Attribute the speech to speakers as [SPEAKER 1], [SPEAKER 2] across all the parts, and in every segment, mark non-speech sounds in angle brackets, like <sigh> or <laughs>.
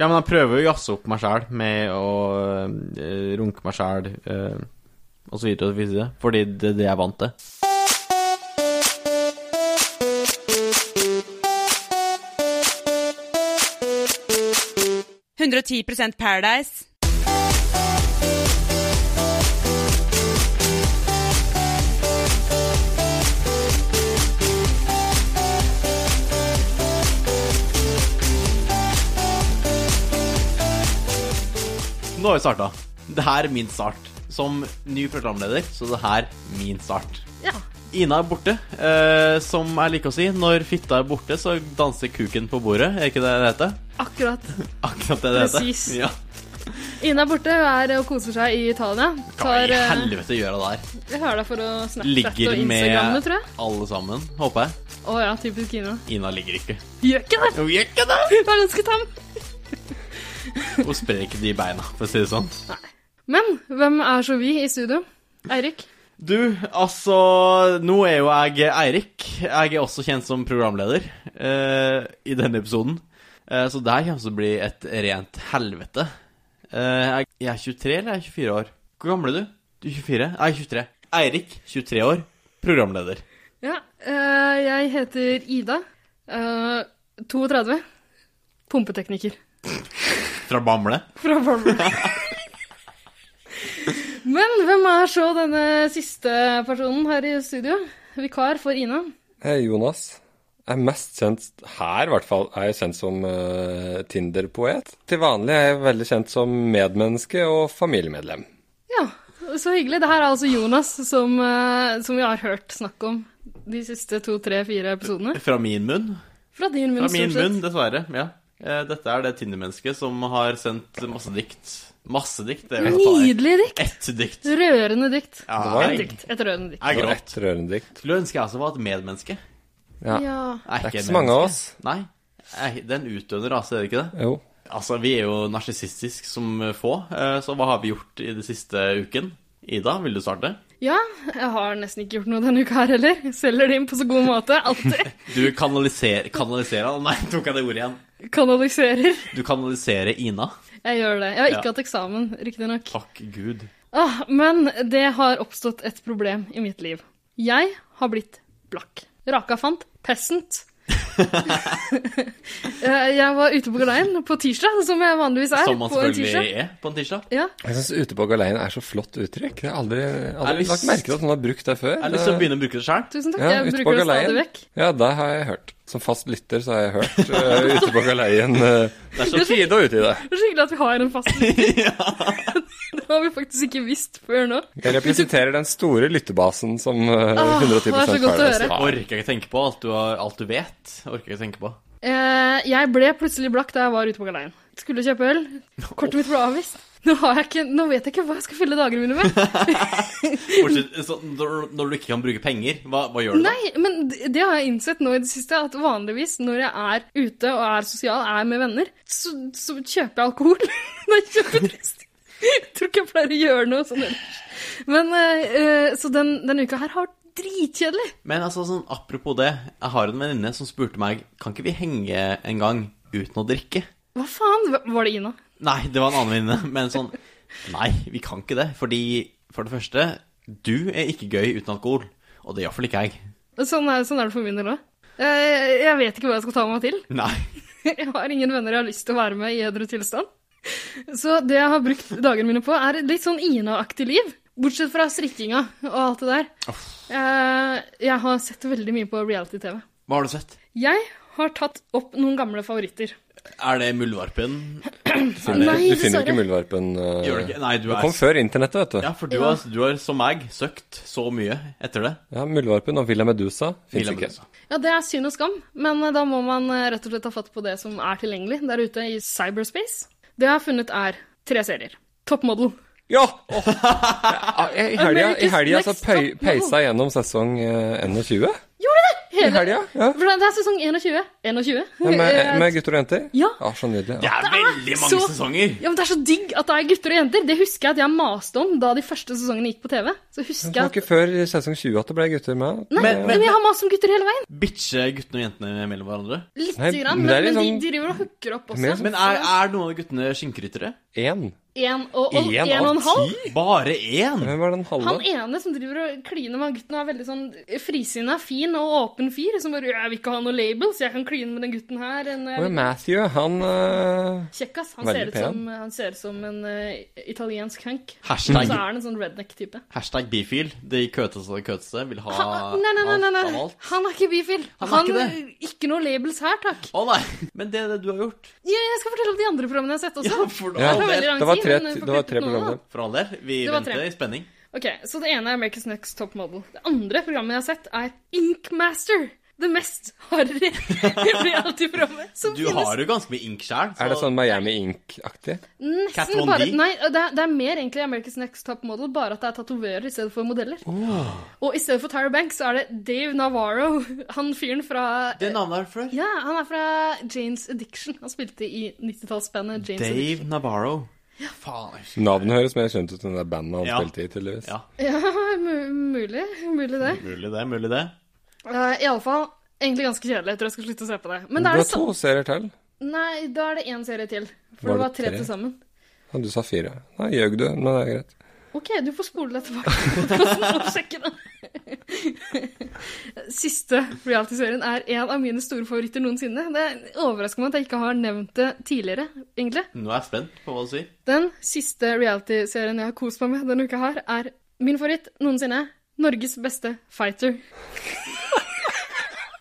[SPEAKER 1] Ja, men jeg prøver jo å jazze opp meg sjæl med å eh, runke meg sjæl eh, og så videre og så videre, fordi det er det jeg er vant til.
[SPEAKER 2] Paradise.
[SPEAKER 1] Nå har vi starta. Det her er min start. Som ny programleder, så det her er min start.
[SPEAKER 3] Ja.
[SPEAKER 1] Ina er borte. Eh, som jeg liker å si, når fitta er borte, så danser kuken på bordet. Er ikke det det heter?
[SPEAKER 3] Akkurat.
[SPEAKER 1] Akkurat det det heter.
[SPEAKER 3] Presis.
[SPEAKER 1] Ja.
[SPEAKER 3] Ina er borte, hun er og koser seg i Italia.
[SPEAKER 1] Hva
[SPEAKER 3] Tar,
[SPEAKER 1] i
[SPEAKER 3] eh,
[SPEAKER 1] helvete gjør hun der?
[SPEAKER 3] vi har deg for å Snapchat
[SPEAKER 1] Ligger
[SPEAKER 3] og Instagramme,
[SPEAKER 1] med
[SPEAKER 3] tror jeg.
[SPEAKER 1] alle sammen, håper jeg.
[SPEAKER 3] Å ja, typisk Ina.
[SPEAKER 1] Ina ligger ikke.
[SPEAKER 3] Gjør ikke det!
[SPEAKER 1] Hun gjør ikke det!
[SPEAKER 3] Hun er ganske tam.
[SPEAKER 1] Hun sprer ikke de beina, for å si det sånn.
[SPEAKER 3] Men hvem er så vi i studio? Eirik?
[SPEAKER 1] Du, altså Nå er jo jeg Eirik. Jeg er også kjent som programleder eh, i denne episoden. Eh, så det her kommer til å bli et rent helvete. Eh, jeg, jeg er 23 eller jeg er 24 år? Hvor gammel er du? Du er 24? Jeg er 23. Eirik, 23 år, programleder.
[SPEAKER 3] Ja. eh, jeg heter Ida. eh, 32. Pumpetekniker.
[SPEAKER 1] Fra Bamble.
[SPEAKER 3] Fra Bamble.
[SPEAKER 1] <laughs>
[SPEAKER 3] Men hvem er så denne siste personen her i studio? Vikar for Ina.
[SPEAKER 4] Hei, Eh, Jonas. Jeg er mest kjent her, i hvert fall, er jeg kjent som eh, Tinder-poet. Til vanlig er jeg veldig kjent som medmenneske og familiemedlem.
[SPEAKER 3] Ja, så hyggelig. Det her er altså Jonas, som, eh, som vi har hørt snakk om de siste to, tre, fire episodene.
[SPEAKER 1] Fra min munn.
[SPEAKER 3] Fra din munn,
[SPEAKER 1] Fra min
[SPEAKER 3] stort sett.
[SPEAKER 1] munn, dessverre. Ja. Eh, dette er det Tinder-mennesket som har sendt masse dikt. Masse dikt? Det er jo å ta i.
[SPEAKER 3] Nydelig dikt.
[SPEAKER 1] Ett dikt.
[SPEAKER 3] Rørende dikt.
[SPEAKER 1] Ja,
[SPEAKER 4] var
[SPEAKER 1] jeg,
[SPEAKER 3] Et dikt. Et rørende dikt.
[SPEAKER 1] jeg
[SPEAKER 4] Det var
[SPEAKER 1] gråt.
[SPEAKER 4] et rørende dikt.
[SPEAKER 1] Skulle ønske jeg også var et medmenneske.
[SPEAKER 4] Ja.
[SPEAKER 3] Ja.
[SPEAKER 1] Jeg
[SPEAKER 4] Det er
[SPEAKER 1] et
[SPEAKER 4] ikke så mange av oss.
[SPEAKER 1] menneske. Nei. Jeg- Det er en utdøende rase, er det ikke det?
[SPEAKER 4] Jo.
[SPEAKER 1] Altså, Vi er jo narsissistiske som få, eh, så hva har vi gjort i det siste uken? Ida, vil du starte?
[SPEAKER 3] ja, jeg har nesten ikke gjort noe denne uka her heller. Selger det inn på så god måte. Alltid. <laughs>
[SPEAKER 1] Du kanaliserer Kanaliserer? Nei, tok jeg det ordet igjen.
[SPEAKER 3] Kanaliserer.
[SPEAKER 1] Du kanaliserer Ina.
[SPEAKER 3] Jeg gjør det. Jeg har ikke
[SPEAKER 1] Ja.
[SPEAKER 3] hatt eksamen, riktignok.
[SPEAKER 1] Takk Gud.
[SPEAKER 3] Ah, men det har oppstått et problem i mitt liv. Jeg har blitt blakk. Raka fant
[SPEAKER 4] <laughs>
[SPEAKER 3] peasant. Eh, jeg var ute på galeien på tirsdag, som jeg vanligvis er.
[SPEAKER 1] Som man
[SPEAKER 3] på en tirsdag.
[SPEAKER 1] selvfølgelig er på en tirsdag.
[SPEAKER 3] Ja,
[SPEAKER 4] Jeg syns 'ute på galeien' er så flott uttrykk. Jeg har aldri,
[SPEAKER 1] Jeg har
[SPEAKER 4] aldri
[SPEAKER 1] lyst-
[SPEAKER 4] lagt merke til at noen har brukt det før.
[SPEAKER 1] Jeg har lyst til å begynne å bruke det sjøl.
[SPEAKER 3] tusen takk.
[SPEAKER 4] Ja,
[SPEAKER 3] jeg
[SPEAKER 4] ute på
[SPEAKER 3] bruker det stadig
[SPEAKER 4] galeien.
[SPEAKER 3] vekk.
[SPEAKER 4] Ja, det har jeg hørt. Som fast lytter så har jeg
[SPEAKER 1] <laughs>
[SPEAKER 4] hørt eh, 'ute på galeien'. eh,
[SPEAKER 1] Det er
[SPEAKER 4] på
[SPEAKER 1] så
[SPEAKER 4] tide å uti det.
[SPEAKER 3] Det er så hyggelig at vi har en fast
[SPEAKER 4] <laughs>
[SPEAKER 1] <laughs>
[SPEAKER 3] Det har vi faktisk ikke visst før nå.
[SPEAKER 4] Jeg representerer den store lyttebasen som eh,
[SPEAKER 3] Åh,
[SPEAKER 4] 110
[SPEAKER 3] det er så godt å
[SPEAKER 4] Paradise
[SPEAKER 3] høre.
[SPEAKER 4] var.
[SPEAKER 1] Orker jeg ikke tenke på alt du, har, alt du vet. Orker jeg ikke tenke på.
[SPEAKER 3] Eh, jeg ble plutselig blakk da jeg var ute på galeien. Skulle kjøpe øl. Kortet mitt ble avvist. Nå, har jeg ikke, nå vet jeg ikke hva jeg skal fylle dagene mine med.
[SPEAKER 1] Bortsett, så, når, når du ikke kan bruke penger, hva, hva gjør du da?
[SPEAKER 3] Nei, men d- det har jeg innsett nå i det siste, at vanligvis når jeg er ute og er sosial, er med venner, så, så kjøper jeg alkohol. <laughs> Nei, kjempetrist. Jeg tror ikke jeg pleier å gjøre noe sånn ellers. Men, eh, eh, så den, denne uka her har vært dritkjedelig.
[SPEAKER 1] Men altså, sånn, apropos det, jeg har en venninne som spurte meg Kan ikke vi henge en gang uten å drikke.
[SPEAKER 3] Hva faen? Hva- Var det Ina?
[SPEAKER 1] Nei, det var en annen venninne, men sånn Nei, vi kan ikke det. Fordi, for det første, du er ikke gøy uten alkohol. Og det er iallfall ikke jeg.
[SPEAKER 3] Sånn er, sånn er det for min del òg. Jeg, jeg vet ikke hva jeg skal ta meg til.
[SPEAKER 1] Nei.
[SPEAKER 3] <laughs> Jeg har ingen venner jeg har lyst til å være med i edru tilstand. Så det jeg har brukt dagene mine på, er et litt sånn Ina-aktig liv. Bortsett fra strikkinga og alt det der. Eh, Jeg har sett veldig mye på reality-TV.
[SPEAKER 1] Hva har du sett?
[SPEAKER 3] Jeg har tatt opp noen gamle favoritter.
[SPEAKER 1] Er det Muldvarpen?
[SPEAKER 4] Finner-
[SPEAKER 3] Nei,
[SPEAKER 4] du finner jo
[SPEAKER 3] dessverre.
[SPEAKER 4] ikke Muldvarpen. eh,
[SPEAKER 1] Gjør det ikke? Nei, du
[SPEAKER 4] Det
[SPEAKER 1] er
[SPEAKER 4] kom før internettet, vet du.
[SPEAKER 1] Ja, for du har, du har som meg søkt så mye etter det.
[SPEAKER 4] Ja, Muldvarpen og Villa Medusa fins
[SPEAKER 1] Villa
[SPEAKER 4] ikke.
[SPEAKER 1] Medusa.
[SPEAKER 3] Ja, det er synd og skam, men eh, da må man eh, rett og slett ta fatt på det som er tilgjengelig der ute i cyberspace. Det jeg har funnet, er tre serier. Top Model.
[SPEAKER 1] <laughs>
[SPEAKER 4] Ja! Åh! Ja, I helga, i
[SPEAKER 3] America's
[SPEAKER 4] helga så
[SPEAKER 3] Next
[SPEAKER 4] pøy,
[SPEAKER 3] Top Model.
[SPEAKER 4] peisa jeg gjennom sesong eh, 21.
[SPEAKER 3] Gjorde det!
[SPEAKER 4] I
[SPEAKER 3] hele
[SPEAKER 4] helga? Ja.
[SPEAKER 3] For det er sesong 21. 21.
[SPEAKER 4] Ja, med,
[SPEAKER 3] <laughs> Eh,
[SPEAKER 4] med gutter og jenter? Ah,
[SPEAKER 3] Ja.
[SPEAKER 4] så nydelig.
[SPEAKER 1] Ah, Det
[SPEAKER 4] Ja.
[SPEAKER 1] er veldig mange
[SPEAKER 3] så-
[SPEAKER 1] sesonger!
[SPEAKER 3] ja, men Det er så digg at det er gutter og jenter. Det husker jeg at jeg maste om da de første sesongene gikk på TV. Så
[SPEAKER 4] Det
[SPEAKER 3] husker
[SPEAKER 4] var
[SPEAKER 3] jeg at...
[SPEAKER 4] ikke før i sesong 20 at det ble gutter med.
[SPEAKER 3] Nei,
[SPEAKER 1] Men-
[SPEAKER 3] men,
[SPEAKER 1] men-
[SPEAKER 3] jeg har mast om gutter hele veien.
[SPEAKER 1] Bitcher guttene og jentene mellom hverandre?
[SPEAKER 3] Litt,
[SPEAKER 4] Nei,
[SPEAKER 3] grann,
[SPEAKER 4] men
[SPEAKER 3] men, men,
[SPEAKER 4] det er litt
[SPEAKER 3] de
[SPEAKER 4] sånn-
[SPEAKER 3] driver og hooker opp
[SPEAKER 4] Men-
[SPEAKER 3] også.
[SPEAKER 1] Men er, er noen av guttene skinnekryttere?
[SPEAKER 4] Én.
[SPEAKER 3] En og, og,
[SPEAKER 4] Én
[SPEAKER 3] en og
[SPEAKER 4] av
[SPEAKER 3] en halv.
[SPEAKER 4] ti?
[SPEAKER 1] Bare én?
[SPEAKER 4] Hvem var den halve?
[SPEAKER 3] Han ene som driver og kliner med han gutten, og er veldig sånn frisinna, fin og åpen fyr. Som bare 'Jeg vil ikke ha noe label, så jeg kan kline med den gutten her'. En,
[SPEAKER 4] Og Matthew, han eh,
[SPEAKER 3] Kjekkas. Han,
[SPEAKER 4] Veldig
[SPEAKER 3] ser ut
[SPEAKER 4] pen.
[SPEAKER 3] som- han ser ut som en eh, italiensk hank. Og
[SPEAKER 1] Hashtag,
[SPEAKER 3] så er han en sånn redneck-type.
[SPEAKER 1] hashtag bifil. De køteste og køteste vil ha
[SPEAKER 3] Han- Nei, nei, nei, nei,
[SPEAKER 1] alt av
[SPEAKER 3] nei.
[SPEAKER 1] alt.
[SPEAKER 3] Han er ikke bifil.
[SPEAKER 1] Han er
[SPEAKER 3] Han,
[SPEAKER 1] ikke
[SPEAKER 3] ikke noe labels her, takk.
[SPEAKER 1] Å nei! Men det er det du har gjort.
[SPEAKER 3] Ja, jeg skal fortelle om de andre programmene jeg har sett også.
[SPEAKER 1] Ja, for
[SPEAKER 4] Ja,
[SPEAKER 1] all
[SPEAKER 3] tar
[SPEAKER 1] del.
[SPEAKER 3] veldig lang
[SPEAKER 4] det var
[SPEAKER 3] tid,
[SPEAKER 4] tre,
[SPEAKER 3] men jeg får
[SPEAKER 4] det var
[SPEAKER 3] klippet
[SPEAKER 4] tre
[SPEAKER 3] noe, da.
[SPEAKER 4] programmer.
[SPEAKER 1] For all del. Vi
[SPEAKER 3] Det var
[SPEAKER 1] venter
[SPEAKER 3] tre.
[SPEAKER 1] i spenning.
[SPEAKER 3] Ok, Så det ene er America's Next Top Model. Det andre programmet jeg har sett, er Inkmaster. Det mest harry <laughs> reality-programmet som
[SPEAKER 1] Du
[SPEAKER 3] finnes.
[SPEAKER 1] har jo ganske mye ink sjæl.
[SPEAKER 4] Er det sånn Miami Ink-aktig?
[SPEAKER 1] Kat
[SPEAKER 3] Nesten
[SPEAKER 1] Von
[SPEAKER 3] bare,
[SPEAKER 1] D?
[SPEAKER 3] nei, det er, det er mer egentlig America's Next Top Model, bare at det er tatoverer i stedet for modeller. Og i stedet for Tyra Banks, så er det Dave Navarro, <laughs> han fyren fra
[SPEAKER 1] Det navnet er før.
[SPEAKER 3] Ja, han er fra Janes Addiction. Han spilte i 90-tallsbandet Janes Addiction.
[SPEAKER 1] Dave Navarro. Faen. jeg husker-
[SPEAKER 4] Navnet høres mer kjent ut enn det der bandet han
[SPEAKER 1] Ja.
[SPEAKER 4] spilte i, tydeligvis.
[SPEAKER 1] Ja,
[SPEAKER 3] <laughs> Ja, mu- mulig. Mulig det.
[SPEAKER 1] mulig det, mulig det.
[SPEAKER 3] Uh, Iallfall egentlig ganske kjedelig. Jeg tror jeg skal slutte å se på det. Men
[SPEAKER 4] Du
[SPEAKER 3] da er
[SPEAKER 4] har
[SPEAKER 3] det
[SPEAKER 4] to
[SPEAKER 3] så...
[SPEAKER 4] serier til.
[SPEAKER 3] Nei, da er det én serie til. For det
[SPEAKER 4] Var det
[SPEAKER 3] var tre
[SPEAKER 4] tre?
[SPEAKER 3] til sammen.
[SPEAKER 4] Ja, Du sa fire. Da ljög du, men det er greit.
[SPEAKER 3] OK, du får spole deg tilbake <laughs> til podcasten og sjekke den. <laughs> Siste reality-serien er en av mine store favoritter noensinne. Det overrasker meg at jeg ikke har nevnt det tidligere, egentlig.
[SPEAKER 1] Nå er jeg spent på hva du sier.
[SPEAKER 3] Den siste reality-serien jeg har kost meg med denne uka her, er min favoritt noensinne. Norges beste fighter. <laughs>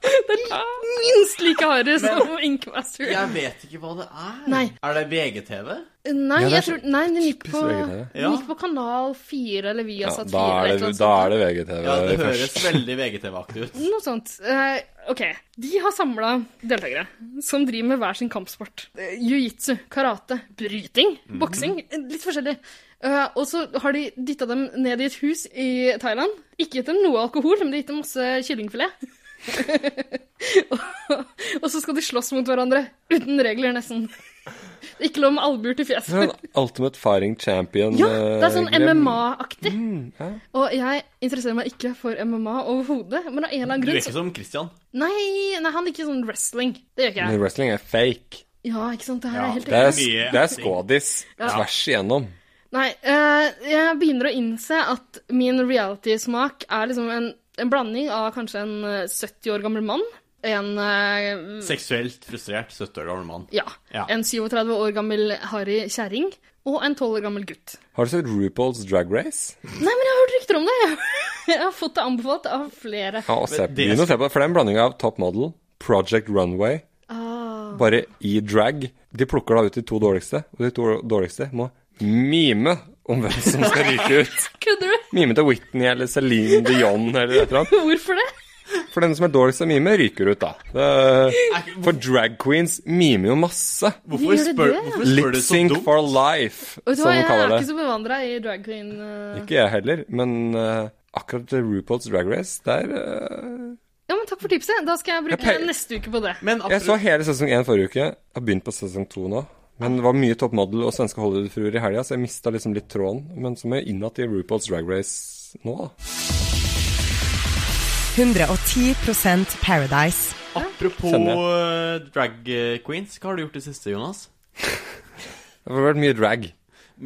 [SPEAKER 3] det er li- minst like harde som Inkmaster.
[SPEAKER 1] Jeg vet ikke hva det er.
[SPEAKER 3] Nei.
[SPEAKER 1] Er det VGTV?
[SPEAKER 3] Nei,
[SPEAKER 4] Ja, det er
[SPEAKER 3] jeg tror, nei, den gikk på,
[SPEAKER 4] VGTV.
[SPEAKER 1] Ja.
[SPEAKER 3] den gikk på kanal 4 eller
[SPEAKER 4] Ja,
[SPEAKER 3] Viasat 4.
[SPEAKER 4] da, er det,
[SPEAKER 3] eller
[SPEAKER 4] da
[SPEAKER 3] noe
[SPEAKER 4] er det VGTV
[SPEAKER 1] Ja, det høres
[SPEAKER 4] først.
[SPEAKER 1] veldig VGTV-aktig ut.
[SPEAKER 3] Noe sånt. Eh, ok, de har samla deltakere som driver med hver sin kampsport. Eh, Jiu-jitsu, karate, bryting,
[SPEAKER 1] Mhm.
[SPEAKER 3] boksing. eh, Litt forskjellig. Eh, og så har de dytta dem ned i et hus i Thailand. Ikke gitt dem noe alkohol, men de har gitt dem masse kyllingfilet. <laughs> og, og så skal de slåss mot hverandre uten regler, nesten. Det er Ikke lov med albuer til
[SPEAKER 4] <laughs> Det er
[SPEAKER 3] fjeset.
[SPEAKER 4] sånn Ultimate Firing Champion
[SPEAKER 3] Ja, det er sånn
[SPEAKER 4] eh, grem.
[SPEAKER 3] MMA-aktig.
[SPEAKER 1] Mm,
[SPEAKER 4] ja.
[SPEAKER 3] Og jeg interesserer meg ikke for MMA overhodet, men av en eller annen
[SPEAKER 1] Du er
[SPEAKER 3] grunn så-
[SPEAKER 1] ikke som Christian.
[SPEAKER 3] Nei, nei, han liker sånn wrestling. Det gjør ikke
[SPEAKER 4] Men
[SPEAKER 3] jeg.
[SPEAKER 4] wrestling er fake.
[SPEAKER 3] Ja, ikke sant. Det her
[SPEAKER 1] Ja,
[SPEAKER 3] er helt
[SPEAKER 4] Det er,
[SPEAKER 3] riktig.
[SPEAKER 1] Mye
[SPEAKER 4] det er
[SPEAKER 1] acting.
[SPEAKER 4] skådis tvers igjennom.
[SPEAKER 3] Nei, eh, jeg begynner å innse at min reality-smak er liksom en, en blanding av kanskje en eh, 70 år gammel mann, en eh,
[SPEAKER 1] Seksuelt frustrert 70 år gammel mann.
[SPEAKER 3] ja,
[SPEAKER 1] Ja.
[SPEAKER 3] en 37 år gammel harry kjerring og en 12 år gammel gutt.
[SPEAKER 4] Har du sett RuPaul's Drag Race?
[SPEAKER 3] Nei, men jeg har hørt rykter om det! <laughs> Jeg har fått det anbefalt av flere.
[SPEAKER 4] Ja, og se,
[SPEAKER 1] Men det-
[SPEAKER 4] begynn å se på det, for det er en blanding av Top Model, Project Runway,
[SPEAKER 3] Ah,
[SPEAKER 4] bare i drag. De plukker da ut de to dårligste, og de to dårligste må mime om hvem som skal
[SPEAKER 3] <laughs>
[SPEAKER 4] ryke ut.
[SPEAKER 3] kødder du?
[SPEAKER 4] Mime til Whitney eller Celine Dion eller et eller annet.
[SPEAKER 3] Hvorfor det?
[SPEAKER 4] For den som er dårligst til å mime, ryker ut, da. Det, for drag queens mimer jo masse.
[SPEAKER 1] Hvorfor
[SPEAKER 3] Gjør det
[SPEAKER 1] spør,
[SPEAKER 3] det?
[SPEAKER 1] hvorfor spør
[SPEAKER 4] Lip
[SPEAKER 1] du så
[SPEAKER 4] sync
[SPEAKER 1] dumt?
[SPEAKER 4] for life,
[SPEAKER 3] Vet du
[SPEAKER 4] som
[SPEAKER 3] hva,
[SPEAKER 4] de
[SPEAKER 3] jeg er
[SPEAKER 4] kaller
[SPEAKER 3] ikke
[SPEAKER 4] det.
[SPEAKER 3] så bevandra i drag queen. eh.
[SPEAKER 4] Ikke jeg heller, men eh, akkurat RuPaul's Drag Race, der eh,
[SPEAKER 3] Ja, men takk for tipset. Da skal jeg bruke
[SPEAKER 4] Jeg pe-
[SPEAKER 3] neste uke på det.
[SPEAKER 1] Men
[SPEAKER 4] Jeg så
[SPEAKER 1] apropos,
[SPEAKER 4] hele sesong én forrige uke. Jeg har begynt på sesong to nå. Men det var mye Top Model og svenske Hollywood-fruer i helga, så jeg mista liksom litt tråden. Men så må jeg inn igjen i RuPaul's Drag Race nå, da.
[SPEAKER 2] 110 Paradise.
[SPEAKER 1] apropos eh, drag eh, queens, hva har du gjort i siste, Jonas?
[SPEAKER 4] Det har vært mye drag.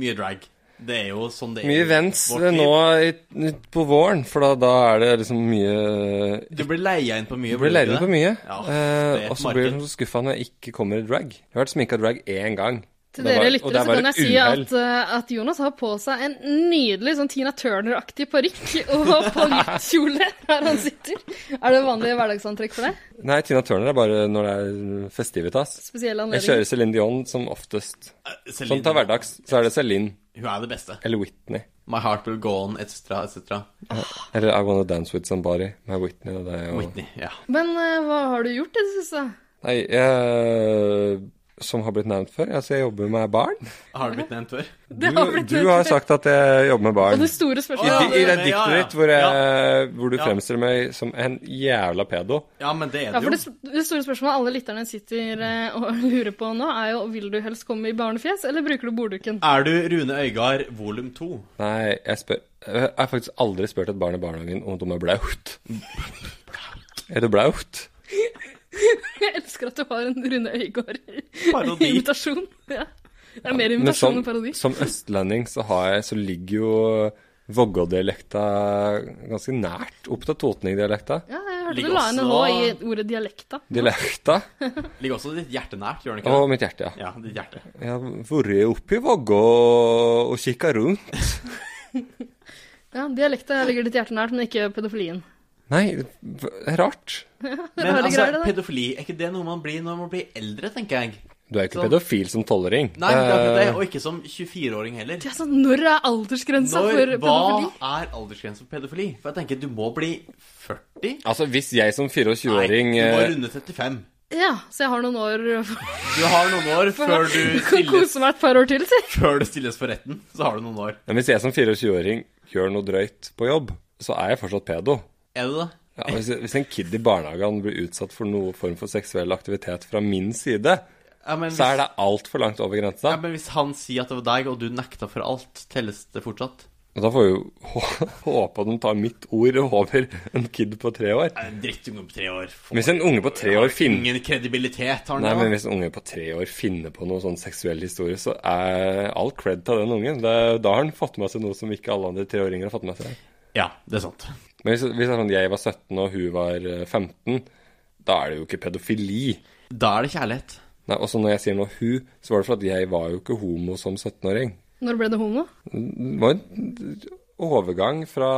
[SPEAKER 1] Mye drag. Det er jo sånn det er.
[SPEAKER 4] Mye
[SPEAKER 1] i
[SPEAKER 4] events eh,
[SPEAKER 1] vårt liv.
[SPEAKER 4] nå i, på våren, for da, da er det liksom mye
[SPEAKER 1] Du blir leia inn på mye.
[SPEAKER 4] Jeg blir leid inn på mye.
[SPEAKER 1] Ja, det er
[SPEAKER 4] eh,
[SPEAKER 1] et
[SPEAKER 4] og så blir
[SPEAKER 1] marked.
[SPEAKER 4] jeg så skuffa når jeg ikke kommer i drag. Jeg har vært sminka drag én gang.
[SPEAKER 3] Til
[SPEAKER 4] Det var-
[SPEAKER 3] dere
[SPEAKER 4] og
[SPEAKER 3] lyttere
[SPEAKER 4] det
[SPEAKER 3] så
[SPEAKER 4] var
[SPEAKER 3] kan jeg
[SPEAKER 4] et
[SPEAKER 3] si
[SPEAKER 4] uhell.
[SPEAKER 3] at, eh, at Jonas har på seg en nydelig sånn Tina Turner-aktig parykk og paljekjole der han sitter. Er det vanlig hverdagsantrekk for deg?
[SPEAKER 4] Nei, Tina Turner er bare når det er festivitas.
[SPEAKER 3] Spesielle
[SPEAKER 4] Jeg
[SPEAKER 3] anledninger?
[SPEAKER 4] kjører Céline Dion som oftest.
[SPEAKER 1] Eh,
[SPEAKER 4] Sånn
[SPEAKER 1] Celine,
[SPEAKER 4] til hverdags så er det Céline
[SPEAKER 1] Hun er det beste.
[SPEAKER 4] eller Whitney.
[SPEAKER 1] My heart will go on, etc., etc.
[SPEAKER 4] Eller I Wanna Dance With Somebody med Whitney. Det er jo...
[SPEAKER 1] Whitney. Ja.
[SPEAKER 3] Men eh, hva har du gjort i det siste?
[SPEAKER 4] Nei, jeg som har blitt nevnt før. Altså, jeg jobber med barn.
[SPEAKER 1] Har det blitt nevnt før?
[SPEAKER 3] <laughs> Det
[SPEAKER 4] Du,
[SPEAKER 3] har blitt
[SPEAKER 4] du har sagt at jeg jobber med
[SPEAKER 3] Og
[SPEAKER 4] barn.
[SPEAKER 3] det store
[SPEAKER 4] I,
[SPEAKER 1] Ja,
[SPEAKER 3] spørsmålet
[SPEAKER 4] i
[SPEAKER 1] det-
[SPEAKER 4] det
[SPEAKER 1] ja,
[SPEAKER 4] diktet
[SPEAKER 1] ja.
[SPEAKER 4] ditt hvor, jeg, hvor du
[SPEAKER 1] Ja.
[SPEAKER 4] fremstiller meg som en jævla pedo.
[SPEAKER 1] Ja, men det er
[SPEAKER 3] Ja,
[SPEAKER 1] det
[SPEAKER 3] for det,
[SPEAKER 1] jo.
[SPEAKER 3] det store spørsmålet alle lytterne sitter eh, og <laughs> lurer på nå, er jo vil du helst komme i barnefjes, eller bruker du bordduken?
[SPEAKER 1] Er du Rune Øygard volum to?
[SPEAKER 4] Nei, jeg, spør, jeg har faktisk aldri spurt et barn i barnehagen om de er blaut. Er du blaut?
[SPEAKER 3] <laughs> Jeg elsker at du har en Rune <laughs>
[SPEAKER 1] Parodi.
[SPEAKER 3] Øygard-invitasjon. Ja. Det er mer
[SPEAKER 4] Men sånn-
[SPEAKER 3] invitasjon
[SPEAKER 4] som,
[SPEAKER 3] enn parodi.
[SPEAKER 4] som østlending så, har jeg, så ligger jo Vågå-dialekta ganske nært opp til Totning-dialekta.
[SPEAKER 3] Ja, jeg hørte
[SPEAKER 1] Ligger
[SPEAKER 3] du la inn en H
[SPEAKER 1] også-
[SPEAKER 3] i ordet dialekta.
[SPEAKER 4] Dialekta
[SPEAKER 1] Ligger også ditt hjerte nært, gjør den ikke
[SPEAKER 4] og
[SPEAKER 1] det?
[SPEAKER 4] mitt hjerte, ja.
[SPEAKER 1] Ja, ditt hjerte.
[SPEAKER 4] Jeg har vært oppe i Vågå og, og kikka rundt.
[SPEAKER 3] Ja, dialekta ligger ditt hjerte nært, men ikke pedofilien.
[SPEAKER 4] Nei, v- rart.
[SPEAKER 1] Men
[SPEAKER 3] Rare
[SPEAKER 1] altså,
[SPEAKER 3] greier, det der.
[SPEAKER 1] pedofili, er ikke det noe man blir når man blir eldre, tenker jeg?
[SPEAKER 4] Du er ikke
[SPEAKER 1] Sånn.
[SPEAKER 4] pedofil som tolvåring.
[SPEAKER 1] Nei, det er akkurat det,
[SPEAKER 4] Eh,
[SPEAKER 1] og ikke som 24-åring heller.
[SPEAKER 3] Det er sånn, Når er aldersgrensa for
[SPEAKER 1] Når, hva
[SPEAKER 3] pedofili?
[SPEAKER 1] er aldersgrensen for pedofili? For jeg tenker, du må bli 40?
[SPEAKER 4] Altså, hvis jeg som
[SPEAKER 1] Nei,
[SPEAKER 4] 24-åring
[SPEAKER 1] du må
[SPEAKER 4] eh,
[SPEAKER 1] runde 35.
[SPEAKER 3] Ja, så jeg har noen år <laughs> for
[SPEAKER 1] Du har noen år før du
[SPEAKER 3] <laughs> å kan
[SPEAKER 1] stilles,
[SPEAKER 3] kose meg et par år til, si.
[SPEAKER 1] før du stilles for retten. Så har du noen år.
[SPEAKER 4] Men hvis jeg som 24-åring gjør noe drøyt på jobb, så er jeg fortsatt pedo.
[SPEAKER 1] Er du det?
[SPEAKER 4] Ja, hvis, hvis en kid i barnehagen blir utsatt for noen form for seksuell aktivitet fra min side,
[SPEAKER 1] Ja, men hvis,
[SPEAKER 4] så er det altfor langt over
[SPEAKER 1] ja,
[SPEAKER 4] grensa.
[SPEAKER 1] men hvis han sier at det var deg, og du nekta for alt, telles det fortsatt?
[SPEAKER 4] Og da får vi jo <laughs> hå- håpe at de tar mitt ord over en kid på tre år.
[SPEAKER 1] En drittunge på tre år. Får
[SPEAKER 4] Hvis en unge på tre år finner
[SPEAKER 1] ingen kredibilitet, har
[SPEAKER 4] Nei,
[SPEAKER 1] han da?
[SPEAKER 4] men hvis en unge på tre år finner på noe sånn seksuell historie, så er all cred til den ungen. Det, da har han fått med seg noe som ikke alle andre treåringer har fått med seg.
[SPEAKER 1] Ja, det er sant.
[SPEAKER 4] Men hvis, hvis det er sånn, jeg var 17 og hun var eh, 15, da er det jo ikke pedofili.
[SPEAKER 1] Da er det kjærlighet.
[SPEAKER 4] Nei, også når jeg sier nå hun, så var det for at jeg var jo ikke homo som 17-åring.
[SPEAKER 3] Når ble det homo?
[SPEAKER 4] Det var en overgang fra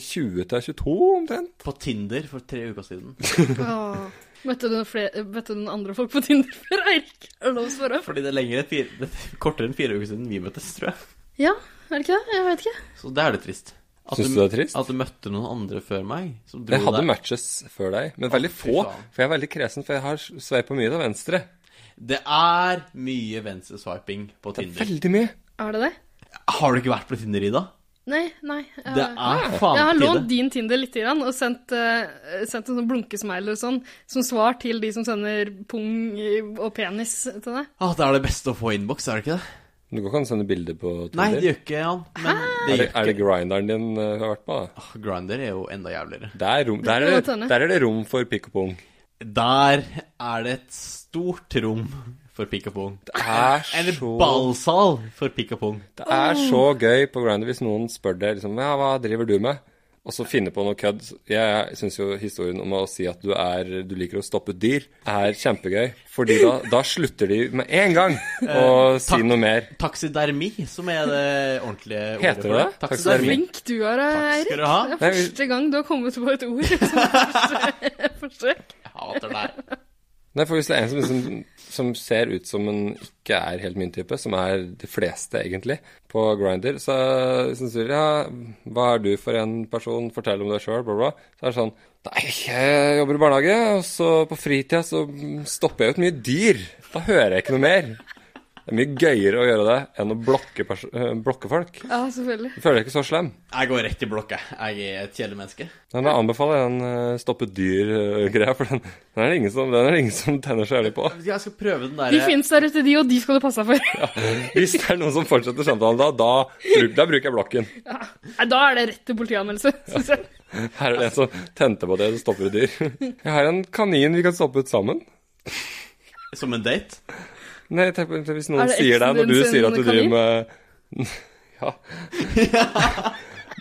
[SPEAKER 4] 20 til 22 omtrent.
[SPEAKER 1] På Tinder for tre uker siden.
[SPEAKER 3] Åh. Møtte du, noen flere, møtte du noen andre folk på Tinder før, Eirik? Er det lov å spørre?
[SPEAKER 1] Fordi det er lenger enn fire, det er kortere enn fire uker siden vi møttes, tror jeg.
[SPEAKER 3] Ja, er det ikke det? Jeg vet ikke.
[SPEAKER 1] Så det er det trist. At
[SPEAKER 4] Syns du det er trist?
[SPEAKER 1] At du møtte noen andre før meg. Som dro
[SPEAKER 4] Jeg hadde
[SPEAKER 1] deg-
[SPEAKER 4] matches før deg, men veldig
[SPEAKER 1] fy
[SPEAKER 4] få.
[SPEAKER 1] faen.
[SPEAKER 4] For jeg er veldig kresen, for jeg har sveipet mye til venstre.
[SPEAKER 1] Det er mye venstreswiping på
[SPEAKER 4] Det er
[SPEAKER 1] Tinder.
[SPEAKER 4] veldig mye.
[SPEAKER 3] Er det det?
[SPEAKER 1] Har du ikke vært på Tinder, Ida?
[SPEAKER 3] Nei, nei. Jeg, Ah.
[SPEAKER 1] Det er faen
[SPEAKER 3] jeg har
[SPEAKER 1] på tide.
[SPEAKER 3] lånt din Tinder litt grann, og sendt, eh, sendt en sånn blunkesmile og sånn, som svar til de som sender pung og penis til deg.
[SPEAKER 1] Ah, det er det beste å få i innboks, er det ikke det?
[SPEAKER 4] Du kan ikke sende bilder på Tinder.
[SPEAKER 1] Nei, det gjør ikke han. Men det
[SPEAKER 4] er, det,
[SPEAKER 1] gjør ikke
[SPEAKER 4] er det grinderen din eh, hun har vært på? da?
[SPEAKER 1] Ah, Grindr er jo enda jævligere.
[SPEAKER 4] Der, er rom, der,
[SPEAKER 3] kan
[SPEAKER 4] er
[SPEAKER 3] godt
[SPEAKER 4] det,
[SPEAKER 3] hende.
[SPEAKER 4] der er det rom for pikk og pung.
[SPEAKER 1] Der er det et stort rom for pikk og pung.
[SPEAKER 4] Det er
[SPEAKER 1] En
[SPEAKER 4] så
[SPEAKER 1] ballsal for pikk og pung.
[SPEAKER 4] Det er så gøy på Grindr hvis noen spør deg liksom, ja, hva driver du med, og så finner på noe kødd. Jeg syns jo historien om å si at du, er, du liker å stoppe dyr, er kjempegøy. Fordi da, da slutter de med en gang å si
[SPEAKER 1] takk.
[SPEAKER 4] noe mer.
[SPEAKER 1] Taksidermi, som er det ordentlige ordet.
[SPEAKER 4] Heter
[SPEAKER 1] for
[SPEAKER 4] det det?
[SPEAKER 1] Taksidermi.
[SPEAKER 4] Taksidermi?
[SPEAKER 3] Flink du er,
[SPEAKER 1] Takk
[SPEAKER 3] Eirik.
[SPEAKER 1] skal du ha.
[SPEAKER 3] Det er
[SPEAKER 4] Nei, vi-
[SPEAKER 3] første gang du har kommet på et ord <laughs> som første forsøk.
[SPEAKER 1] Jeg hater deg.
[SPEAKER 4] Nei, for hvis det er en som, liksom- som ser ut som en ikke er helt min type, som er de fleste egentlig, på Grindr, så syns du ja, hva er du for en person, fortell om deg sjøl, bla, bla. Så er det sånn Nei, jeg jobber i barnehage, og så på fritida så stopper jeg ut mye dyr. Da hører jeg ikke noe mer. Det er mye gøyere å gjøre det enn å blokke, pers eh, blokke folk.
[SPEAKER 3] Ja, selvfølgelig.
[SPEAKER 4] Du føler deg ikke så slem.
[SPEAKER 1] Jeg går rett i blokka. Jeg er et kjedelig menneske.
[SPEAKER 4] Men da anbefaler jeg den eh, stoppe dyr-greia, for den, den, er det ingen som, den er det ingen som tenner så jævlig på.
[SPEAKER 1] Jeg skal prøve den eh,
[SPEAKER 3] De
[SPEAKER 1] derre
[SPEAKER 3] finnes der ute, de, og de skal du passe deg for.
[SPEAKER 4] Hvis det er noen som fortsetter samtalen da, da, bruk, da bruker jeg blokken.
[SPEAKER 3] <laughs> Nei, Da er det rett til politianmeldelse, <laughs> synes jeg.
[SPEAKER 4] Her er det en som tente på det, det stopper et dyr. Jeg har en kanin vi kan stoppe ut sammen.
[SPEAKER 1] som en date.
[SPEAKER 4] Nei, tenk på- hvis noen
[SPEAKER 3] Er det
[SPEAKER 4] sier det, når
[SPEAKER 3] eksen din
[SPEAKER 4] du
[SPEAKER 3] sin
[SPEAKER 4] sier at du driver
[SPEAKER 3] kanin?
[SPEAKER 4] med <laughs> Ja.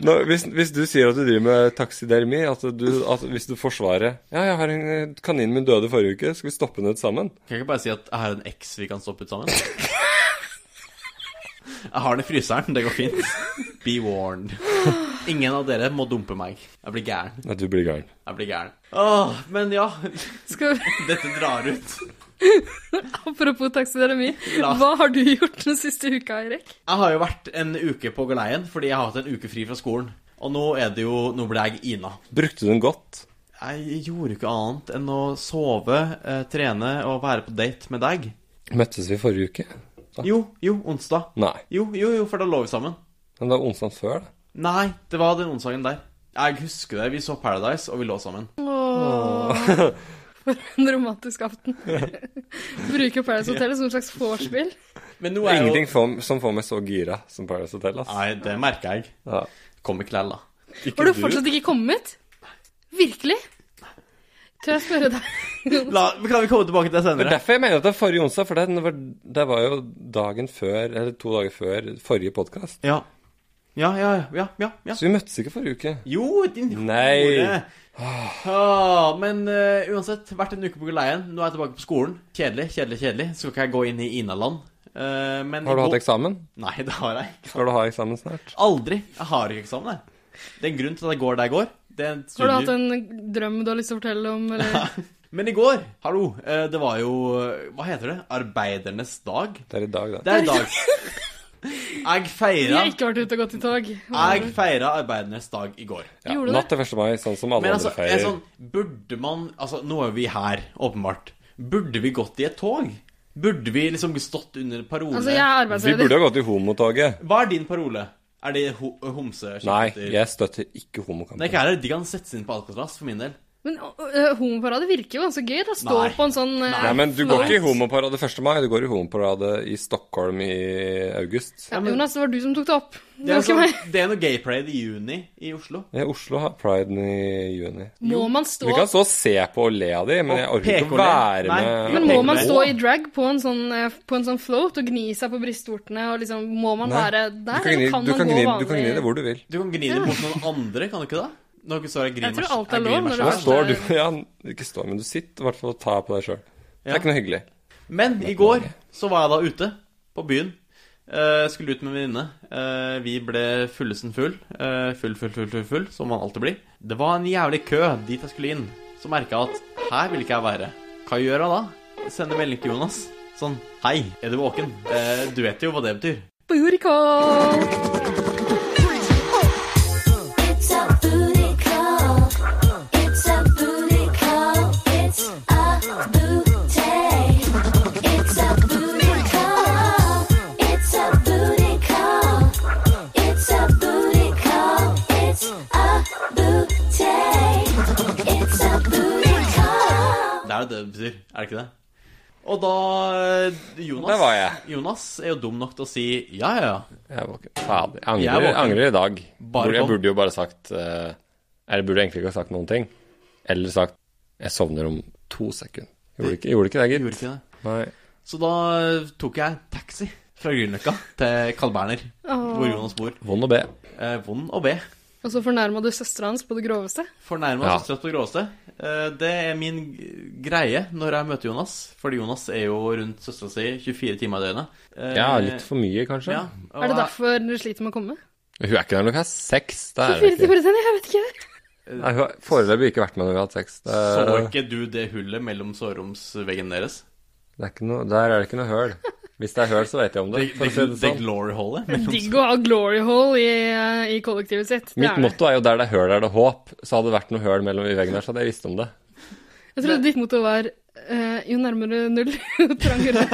[SPEAKER 4] Nå, hvis, hvis du sier at du driver med taksidermi, at du, at hvis du forsvarer Ja, jeg har en eh, kaninen min døde forrige uke, skal vi stoppe den ut sammen?
[SPEAKER 1] Kan jeg ikke bare si at jeg har en eks vi kan stoppe ut sammen? Jeg har den i fryseren, det går fint. Be warned. Ingen av dere må dumpe meg. Jeg blir gæren.
[SPEAKER 4] Nei, du blir gæren.
[SPEAKER 1] Jeg blir gæren. Åh, men ja,
[SPEAKER 3] Skal vi...
[SPEAKER 1] dette drar ut.
[SPEAKER 3] Apropos taksidermi,
[SPEAKER 1] La-
[SPEAKER 3] hva har du gjort den siste uka, Eirik?
[SPEAKER 1] Jeg har jo vært en uke på galeien fordi jeg har hatt en uke fri fra skolen. Og nå er det jo Nå ble jeg Ina.
[SPEAKER 4] Brukte du den godt?
[SPEAKER 1] Jeg gjorde ikke annet enn å sove, eh, trene og være på date med deg.
[SPEAKER 4] Møttes vi forrige uke? Da?
[SPEAKER 1] Jo, jo, onsdag.
[SPEAKER 4] Nei.
[SPEAKER 1] Jo, jo, jo, for da lå vi sammen.
[SPEAKER 4] Men det var onsdag før, da.
[SPEAKER 1] Nei, det var den onsdagen der. Jeg husker det. Vi så Paradise, og vi lå sammen.
[SPEAKER 3] Åh, en romantisk
[SPEAKER 1] <laughs>
[SPEAKER 3] aften. Bruker Paradise Hotel som et slags vorspiel.
[SPEAKER 1] Men nå
[SPEAKER 4] Det er
[SPEAKER 1] jo
[SPEAKER 4] ingenting får- som får meg så gira som Paradise Hotel, ass.
[SPEAKER 1] Nei, det merker jeg.
[SPEAKER 4] Ja.
[SPEAKER 1] Kom ikke lell, da.
[SPEAKER 3] Har du fortsatt ikke kommet? Virkelig? Tør jeg spørre deg?
[SPEAKER 1] La, kan vi komme tilbake til det
[SPEAKER 4] Det er
[SPEAKER 1] senere?
[SPEAKER 4] derfor jeg mener at det er forrige onsdag, for det var, det var jo dagen før, eller to dager før, forrige podkast.
[SPEAKER 1] Ja. Ja, ja, ja. ja, ja.
[SPEAKER 4] Så vi møttes ikke forrige uke.
[SPEAKER 1] Jo, din
[SPEAKER 4] Nei.
[SPEAKER 1] hore. Ah, men eh, uansett, vært en uke på galeien. Nå er jeg tilbake på skolen. Kjedelig, kjedelig, kjedelig. Skal ikke jeg gå inn i Inaland. Uh, men
[SPEAKER 4] Har du hatt
[SPEAKER 1] går-
[SPEAKER 4] eksamen?
[SPEAKER 1] Nei, det har jeg ikke.
[SPEAKER 4] Skal du ha eksamen snart?
[SPEAKER 1] Aldri. Jeg har ikke eksamen, jeg. Det er en grunn til at jeg går der jeg går. Det er en
[SPEAKER 3] Har du
[SPEAKER 1] studie-
[SPEAKER 3] hatt en drøm du har lyst til å fortelle om? Eller?
[SPEAKER 1] Men i går, hallo, eh, det var jo eh, Hva heter det? Arbeidernes dag?
[SPEAKER 4] Det er i dag, da.
[SPEAKER 1] Det er
[SPEAKER 3] <laughs>
[SPEAKER 1] i dag. Jeg
[SPEAKER 3] Vi
[SPEAKER 1] feira
[SPEAKER 3] har ikke vært ute og gått i tog.
[SPEAKER 1] Jeg feira arbeidernes dag i går.
[SPEAKER 4] Ja,
[SPEAKER 3] Gjorde du
[SPEAKER 4] natt til 1. mai, sånn som alle
[SPEAKER 1] Men altså,
[SPEAKER 4] andre
[SPEAKER 1] jeg er
[SPEAKER 4] feirer.
[SPEAKER 1] sånn, burde man Altså, nå er vi her, åpenbart. Burde vi gått i et tog? Burde vi liksom stått under parole?
[SPEAKER 3] Altså, jeg er
[SPEAKER 4] Vi burde
[SPEAKER 3] arbeidsledig.
[SPEAKER 4] ha gått i homotoget.
[SPEAKER 1] Hva er din parole? Er det ho homse?
[SPEAKER 4] Nei,
[SPEAKER 1] kjefter?
[SPEAKER 4] jeg støtter ikke
[SPEAKER 1] Nei,
[SPEAKER 4] homokampen.
[SPEAKER 1] ikke heller. De kan settes inn på Alcatraz, for min del.
[SPEAKER 3] Men øh, homoparadet virker jo ganske gøy. Da stå
[SPEAKER 1] Nei.
[SPEAKER 3] på en sånn øh,
[SPEAKER 4] Nei, men du går ikke i
[SPEAKER 3] flight.
[SPEAKER 4] homoparade 1. mai, du går i homoparade i Stockholm i august.
[SPEAKER 3] Ja, Jonas, det var du som tok det opp.
[SPEAKER 1] Det er,
[SPEAKER 3] Det var ikke
[SPEAKER 1] sånn,
[SPEAKER 3] meg.
[SPEAKER 1] det er noe gay parade i juni i Oslo.
[SPEAKER 4] Ja, Oslo har priden i juni.
[SPEAKER 3] Må man stå
[SPEAKER 4] Vi kan stå og se på og le av de, men
[SPEAKER 1] Og
[SPEAKER 4] jeg orker ikke
[SPEAKER 1] peke
[SPEAKER 4] å
[SPEAKER 1] og le.
[SPEAKER 4] være
[SPEAKER 1] Nei,
[SPEAKER 4] med.
[SPEAKER 3] Men
[SPEAKER 1] Jeg
[SPEAKER 3] må
[SPEAKER 1] tenker
[SPEAKER 3] man
[SPEAKER 1] det.
[SPEAKER 3] stå i drag på en sånn, eh, på en sånn float og gni seg på brystvortene? Og liksom, må man
[SPEAKER 4] Nei.
[SPEAKER 3] være
[SPEAKER 4] Du
[SPEAKER 3] der,
[SPEAKER 4] kan gni,
[SPEAKER 3] eller kan
[SPEAKER 4] du
[SPEAKER 3] man
[SPEAKER 4] kan
[SPEAKER 3] gå
[SPEAKER 4] gni, du
[SPEAKER 3] vanlig?
[SPEAKER 4] kan gni det hvor du vil.
[SPEAKER 1] Du kan gni det mot noen andre, kan du ikke det? Nå står jeg og griner
[SPEAKER 3] Jeg tror
[SPEAKER 1] meg-
[SPEAKER 3] alt er
[SPEAKER 1] jeg griner
[SPEAKER 3] lov
[SPEAKER 1] meg
[SPEAKER 3] når
[SPEAKER 4] Nå
[SPEAKER 1] selv.
[SPEAKER 3] det er-
[SPEAKER 4] står du <laughs> Ja, ikke står, men du sitter i hvert fall og tar på deg sjøl. Det
[SPEAKER 1] Ja.
[SPEAKER 4] er ikke noe hyggelig.
[SPEAKER 1] Men i går så var jeg da ute på byen. Eh, skulle ut med en venninne. Eh, vi ble fullesen full. Eh, full, full, full, full, full, som man alltid blir. Det var en jævlig kø dit jeg skulle inn. Så merka jeg at her vil ikke jeg være. Hva gjør jeg da? Sender melding til Jonas. Sånn Hei, er du våken? Eh, du vet jo hva det betyr.
[SPEAKER 3] Burikål!
[SPEAKER 5] It's a booty call. It's a booty call. It's a booty. It's a booty call. It's a booty call. It's a booty call. It's a booty. It's a booty call.
[SPEAKER 1] Det er jo det det betyr, er det ikke det? Og da eh, Jonas,
[SPEAKER 4] Der var jeg.
[SPEAKER 1] Jonas er jo dum nok til å si ja, ja, ja.
[SPEAKER 4] Jeg var ikke Fader. Jeg
[SPEAKER 1] Jeg er
[SPEAKER 4] angrer,
[SPEAKER 1] våken.
[SPEAKER 4] jeg angrer i dag.
[SPEAKER 1] Bare
[SPEAKER 4] Burde- Jeg
[SPEAKER 1] kom.
[SPEAKER 4] burde jo bare sagt eh, Eller burde egentlig ikke ha sagt noen ting. Eller sagt 'Jeg sovner om to sekunder'. Gjorde ikke, gjorde ikke det, gitt.
[SPEAKER 1] Gjorde ikke det.
[SPEAKER 4] Nei.
[SPEAKER 1] Så da tok jeg taxi fra Grünerløkka til Carl Berner,
[SPEAKER 3] Åh.
[SPEAKER 1] hvor Jonas bor.
[SPEAKER 4] Vond å be.
[SPEAKER 1] Eh, vond å be.
[SPEAKER 3] Og så fornærma du søstera hans på det groveste.
[SPEAKER 1] Fornærma
[SPEAKER 4] Ja.
[SPEAKER 1] ja. søstera på det groveste. Eh, det er min g- greie når jeg møter Jonas, fordi Jonas er jo rundt søstera si 24 timer i døgnet. Eh,
[SPEAKER 4] Ja, litt for mye, kanskje.
[SPEAKER 1] ja, og
[SPEAKER 3] Er det
[SPEAKER 1] jeg-
[SPEAKER 3] derfor du sliter med å komme?
[SPEAKER 4] Hun er ikke der når vi har sex. Det er hun
[SPEAKER 3] 24
[SPEAKER 4] ikke.
[SPEAKER 3] timer i senga, jeg vet ikke.
[SPEAKER 4] Nei, hun har foreløpig ikke vært med når vi har hatt sex. Det er,
[SPEAKER 1] Så ikke du det hullet mellom soveromsveggen deres?
[SPEAKER 4] det er ikke noe, der er det ikke noe høl. Hvis det er høl, så vet jeg om det.
[SPEAKER 1] Det,
[SPEAKER 4] For
[SPEAKER 1] det,
[SPEAKER 4] å si det
[SPEAKER 1] det
[SPEAKER 4] sånn.
[SPEAKER 1] glory hullet?
[SPEAKER 3] Digg å ha glory hole i, eh, i kollektivet sitt. Det
[SPEAKER 4] Mitt
[SPEAKER 3] er det.
[SPEAKER 4] motto er jo 'der det er høl, er det håp'. Så hadde det vært noe høl mellom i veggen der, så hadde jeg visst om det.
[SPEAKER 3] Jeg trodde ditt motto var eh, jo nærmere null, <laughs> jo trangere.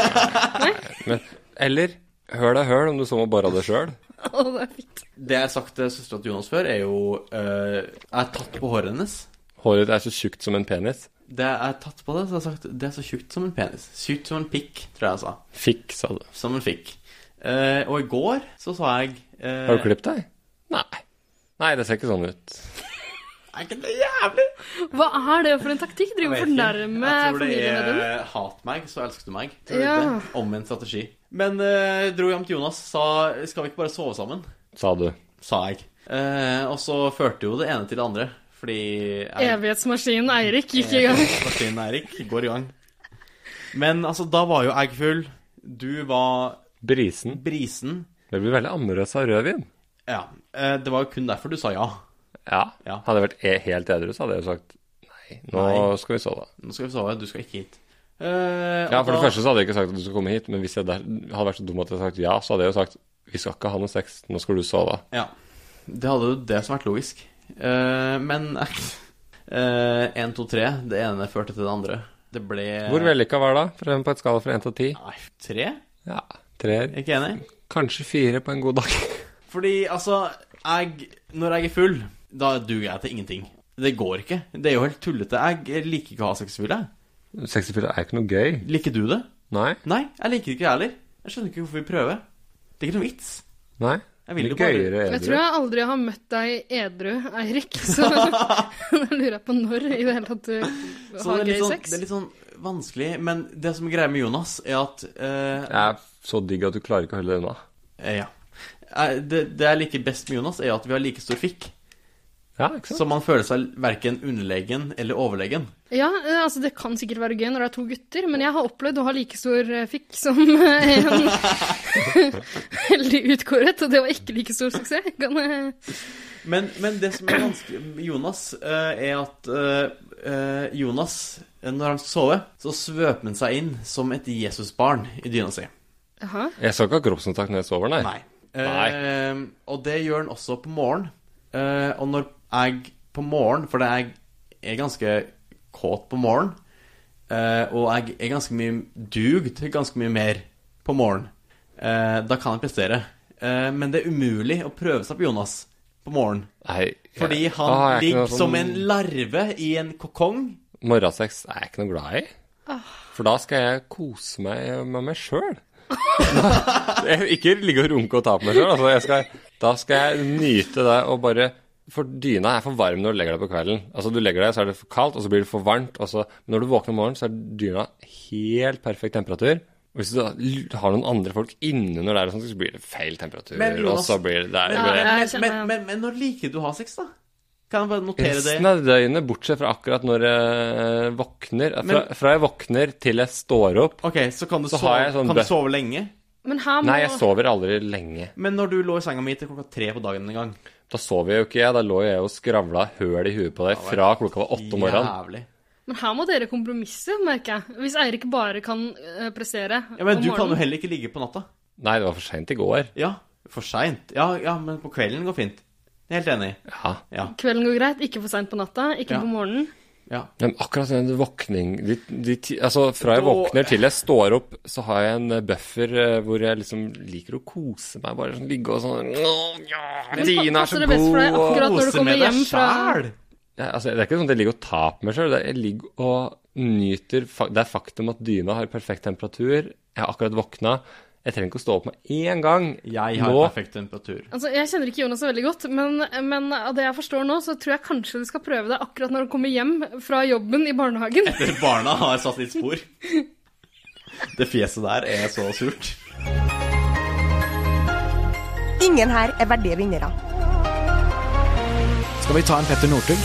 [SPEAKER 4] Men, eller høl er høl, om du så må bore det sjøl.
[SPEAKER 3] Å, det er fint.
[SPEAKER 1] Det jeg har sagt til søstera til Jonas før, er jo eh, Jeg har tatt på håret hennes.
[SPEAKER 4] Håret ditt er så tjukt som en penis.
[SPEAKER 1] Det jeg har tatt på det, så har jeg sagt det er så tjukt som en penis. Tjukt som en pikk, tror jeg jeg sa.
[SPEAKER 4] Fikk, sa du.
[SPEAKER 1] Som en fikk. Eh, og i går så sa jeg eh,
[SPEAKER 4] Har du klippet deg? Nei. Nei, det ser ikke sånn ut.
[SPEAKER 1] Er ikke det jævlig?
[SPEAKER 3] Hva er det for en taktikk? Driver og
[SPEAKER 1] Jeg vet ikke.
[SPEAKER 3] fornærmer
[SPEAKER 1] Jeg tror
[SPEAKER 3] familiemedlemmer?
[SPEAKER 1] det er Hat meg, så elsker du meg. Tror du
[SPEAKER 3] Ja.
[SPEAKER 1] ikke det? Omvendt strategi. Men eh, dro hjem til Jonas, sa skal vi ikke bare sove sammen?
[SPEAKER 4] Sa du.
[SPEAKER 1] Sa jeg. Eh, og så førte jo det ene til det andre. Fordi jeg,
[SPEAKER 3] Evighetsmaskinen Eirik gikk i gang.
[SPEAKER 1] Martin Eirik går i gang. Men altså, da var jo jeg full. Du var
[SPEAKER 4] Brisen.
[SPEAKER 1] brisen.
[SPEAKER 4] Det blir veldig amorøs av rødvin.
[SPEAKER 1] Ja. eh, det var jo kun derfor du sa ja.
[SPEAKER 4] Ja.
[SPEAKER 1] Ja.
[SPEAKER 4] Hadde jeg vært e helt edru, så hadde jeg jo sagt nei, nå
[SPEAKER 1] Nei.
[SPEAKER 4] skal vi sove.
[SPEAKER 1] Nå skal vi sove, du skal ikke hit. Eh,
[SPEAKER 4] Ja,
[SPEAKER 1] og
[SPEAKER 4] For det
[SPEAKER 1] da-
[SPEAKER 4] første så hadde jeg ikke sagt at du skulle komme hit, men hvis jeg der, hadde vært så dum at jeg hadde sagt ja, så hadde jeg jo sagt vi skal ikke ha noe sex, nå skal du sove.
[SPEAKER 1] Ja. Det hadde jo det som vært <laughs> logisk. Eh, men eh, én, to, tre. Det ene førte til det andre. Det ble
[SPEAKER 4] Hvor vellykka var det, da? For eksempel På et skala fra 1 til 10?
[SPEAKER 1] Nei, tre?
[SPEAKER 4] Ja, treer.
[SPEAKER 1] Ikke enig?
[SPEAKER 4] Kanskje fire på en god <laughs> dag.
[SPEAKER 1] Fordi, altså jeg, Når jeg er full, da duger jeg til ingenting. Det går ikke. Det er jo helt tullete. Jeg liker ikke å ha sexfylle.
[SPEAKER 4] 64 er ikke noe gøy.
[SPEAKER 1] Liker du det?
[SPEAKER 4] Nei.
[SPEAKER 1] Nei, jeg liker det ikke jeg heller. Jeg skjønner ikke hvorfor vi prøver. Det er ikke noe vits.
[SPEAKER 4] Nei.
[SPEAKER 1] Jeg vil
[SPEAKER 4] Litt
[SPEAKER 1] jo bare-
[SPEAKER 4] gøyere
[SPEAKER 3] Jeg
[SPEAKER 4] edru.
[SPEAKER 3] tror jeg aldri har møtt deg edru,
[SPEAKER 1] <laughs>
[SPEAKER 3] Eirik, så jeg lurer på når i det hele tatt du
[SPEAKER 1] Så det
[SPEAKER 3] har
[SPEAKER 1] er,
[SPEAKER 3] gøy
[SPEAKER 1] litt sånn,
[SPEAKER 3] sex.
[SPEAKER 1] det er litt sånn vanskelig. Men det som er greia med Jonas, er at eh,
[SPEAKER 4] Det er så digg at du klarer ikke å holde det unna.
[SPEAKER 1] eh, Ja. Eh, Det, det jeg liker best med Jonas, er at vi har like stor fikk.
[SPEAKER 4] Ja, ikke sant?
[SPEAKER 1] Så man føler seg verken underlegen eller overlegen.
[SPEAKER 3] Ja, eh, altså det kan sikkert være gøy når det er to gutter, men jeg har opplevd å ha like stor eh, fikk som eh, en
[SPEAKER 1] <laughs>
[SPEAKER 3] <laughs> veldig utkåret, og det var ikke like stor suksess. Kan, jeg-
[SPEAKER 1] Men, men det som er vanskelig med Jonas, eh, er at eh, eh, Jonas, eh, når han sover, så svøper han seg inn som et Jesusbarn i dyna si.
[SPEAKER 3] Jaha.
[SPEAKER 4] Jeg skal ikke ha kroppskontakt når jeg sover, nei.
[SPEAKER 1] Nei. Eh, og det gjør han også på morgenen. Eh, og når jeg på morgenen For jeg er ganske kåt på morgenen. eh, og jeg er ganske mye dug til ganske mye mer på morgenen. Eh, da kan jeg prestere. Eh, men det er umulig å prøve seg på Jonas på morgenen.
[SPEAKER 4] Nei, jeg-
[SPEAKER 1] Fordi han
[SPEAKER 4] Da har jeg ikke
[SPEAKER 1] ligger
[SPEAKER 4] noe sånn-
[SPEAKER 1] som en larve i en kokong.
[SPEAKER 4] Morgensex er jeg ikke noe glad i. For da skal jeg kose meg med meg <laughs> sjøl. Ikke ligge og runke og ta på meg sjøl. Altså, jeg skal- da skal jeg nyte det og bare For dyna er for varm når du legger deg på kvelden. Altså, du legger deg, så er det for kaldt, og så blir det for varmt. Og så, men når du våkner om morgenen, så er dyna helt perfekt temperatur. Og hvis du da l- har noen andre folk innunder der, og sånn, så blir det feil temperatur.
[SPEAKER 1] Men Jonas-
[SPEAKER 4] og så blir det, det, er,
[SPEAKER 1] Men, men,
[SPEAKER 4] blir det
[SPEAKER 3] jeg
[SPEAKER 1] men,
[SPEAKER 3] kjenner
[SPEAKER 1] men,
[SPEAKER 3] igjen.
[SPEAKER 1] men, men når liker du å ha sex, da? Kan jeg bare notere det?
[SPEAKER 4] Resten av døgnet, bortsett fra akkurat når jeg eh, våkner fra,
[SPEAKER 1] Men-
[SPEAKER 4] fra jeg våkner til jeg står opp
[SPEAKER 1] Ok, Så kan du,
[SPEAKER 4] Så har
[SPEAKER 1] sove,
[SPEAKER 4] jeg sånn
[SPEAKER 1] kan du
[SPEAKER 4] bø-
[SPEAKER 1] sove lenge?
[SPEAKER 3] Men her må
[SPEAKER 4] Nei, jeg sover aldri lenge.
[SPEAKER 1] Men når du lå i senga mi til klokka tre på dagen en gang
[SPEAKER 4] Da sover jeg jo ikke jeg. Da lå jeg og skravla høl i huet på deg fra klokka var åtte om morgenen.
[SPEAKER 1] Jævlig.
[SPEAKER 3] Men her må dere kompromisse, merker jeg. Hvis Eirik bare kan eh, prestere
[SPEAKER 1] Ja, Men
[SPEAKER 3] om
[SPEAKER 1] du kan jo
[SPEAKER 3] morgenen.
[SPEAKER 1] heller ikke ligge på natta.
[SPEAKER 4] Nei, det var for seint i går.
[SPEAKER 1] Ja, for seint. Ja, ja, men på kvelden går fint. Jeg er Helt enig.
[SPEAKER 4] Ja.
[SPEAKER 1] Ja.
[SPEAKER 3] Kvelden går greit, ikke for seint på natta, ikke
[SPEAKER 1] Ja.
[SPEAKER 3] på morgenen.
[SPEAKER 1] ja.
[SPEAKER 4] Men akkurat den våkning de, de, ti- Altså, fra jeg
[SPEAKER 1] Da-
[SPEAKER 4] våkner til jeg står opp, så har jeg en eh, buffer eh, hvor jeg liksom liker å kose meg. Bare sånn ligge og sånn «Åh, ja, Dina er
[SPEAKER 3] passer
[SPEAKER 4] så
[SPEAKER 3] det best for deg
[SPEAKER 4] god, og
[SPEAKER 3] akkurat når du
[SPEAKER 1] Kose
[SPEAKER 3] kommer
[SPEAKER 1] med deg
[SPEAKER 3] hjem fra
[SPEAKER 1] sjæl!
[SPEAKER 4] Ja, altså, det er ikke sånn at jeg ligger og tar på meg sjøl. Jeg ligger og nyter fa- Det er faktum at dyna har perfekt temperatur. Jeg har akkurat våkna. Jeg trenger ikke å stå opp med én gang.
[SPEAKER 1] Jeg har
[SPEAKER 4] Nå-
[SPEAKER 1] perfekt temperatur.
[SPEAKER 3] Altså, Jeg kjenner ikke Jonas så veldig godt, men, men av det jeg forstår nå, så tror jeg kanskje du skal prøve det akkurat når du kommer hjem fra jobben i barnehagen.
[SPEAKER 1] Dere barna har satt litt spor. Det fjeset der er så surt.
[SPEAKER 2] Ingen her er verdige vinnere.
[SPEAKER 6] Skal vi ta en Petter Northug?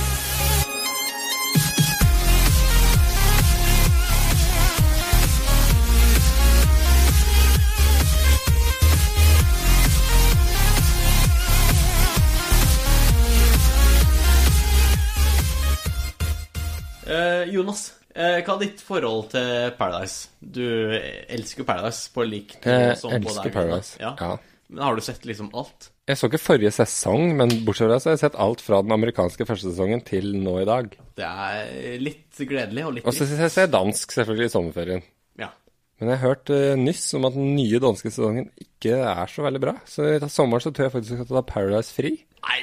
[SPEAKER 1] Eh, Jonas, eh, hva er ditt forhold til Paradise? Du elsker jo Paradise på lik nivå
[SPEAKER 4] Jeg
[SPEAKER 1] som på
[SPEAKER 4] elsker
[SPEAKER 1] deg.
[SPEAKER 4] Paradise.
[SPEAKER 1] Ja.
[SPEAKER 4] Ja.
[SPEAKER 1] Men har du sett liksom alt?
[SPEAKER 4] Jeg så ikke forrige sesong, men bortsett fra det så har jeg sett alt fra den amerikanske første sesongen til nå i dag.
[SPEAKER 1] Det er litt gledelig og litt
[SPEAKER 4] Og så
[SPEAKER 1] trist.
[SPEAKER 4] ser jeg ser dansk selvfølgelig i sommerferien.
[SPEAKER 1] Ja.
[SPEAKER 4] Men jeg har hørt eh, nyss om at den nye danske sesongen ikke er så veldig bra. Så i sommeren så tror jeg faktisk jeg skal ta Paradise fri.
[SPEAKER 1] Nei,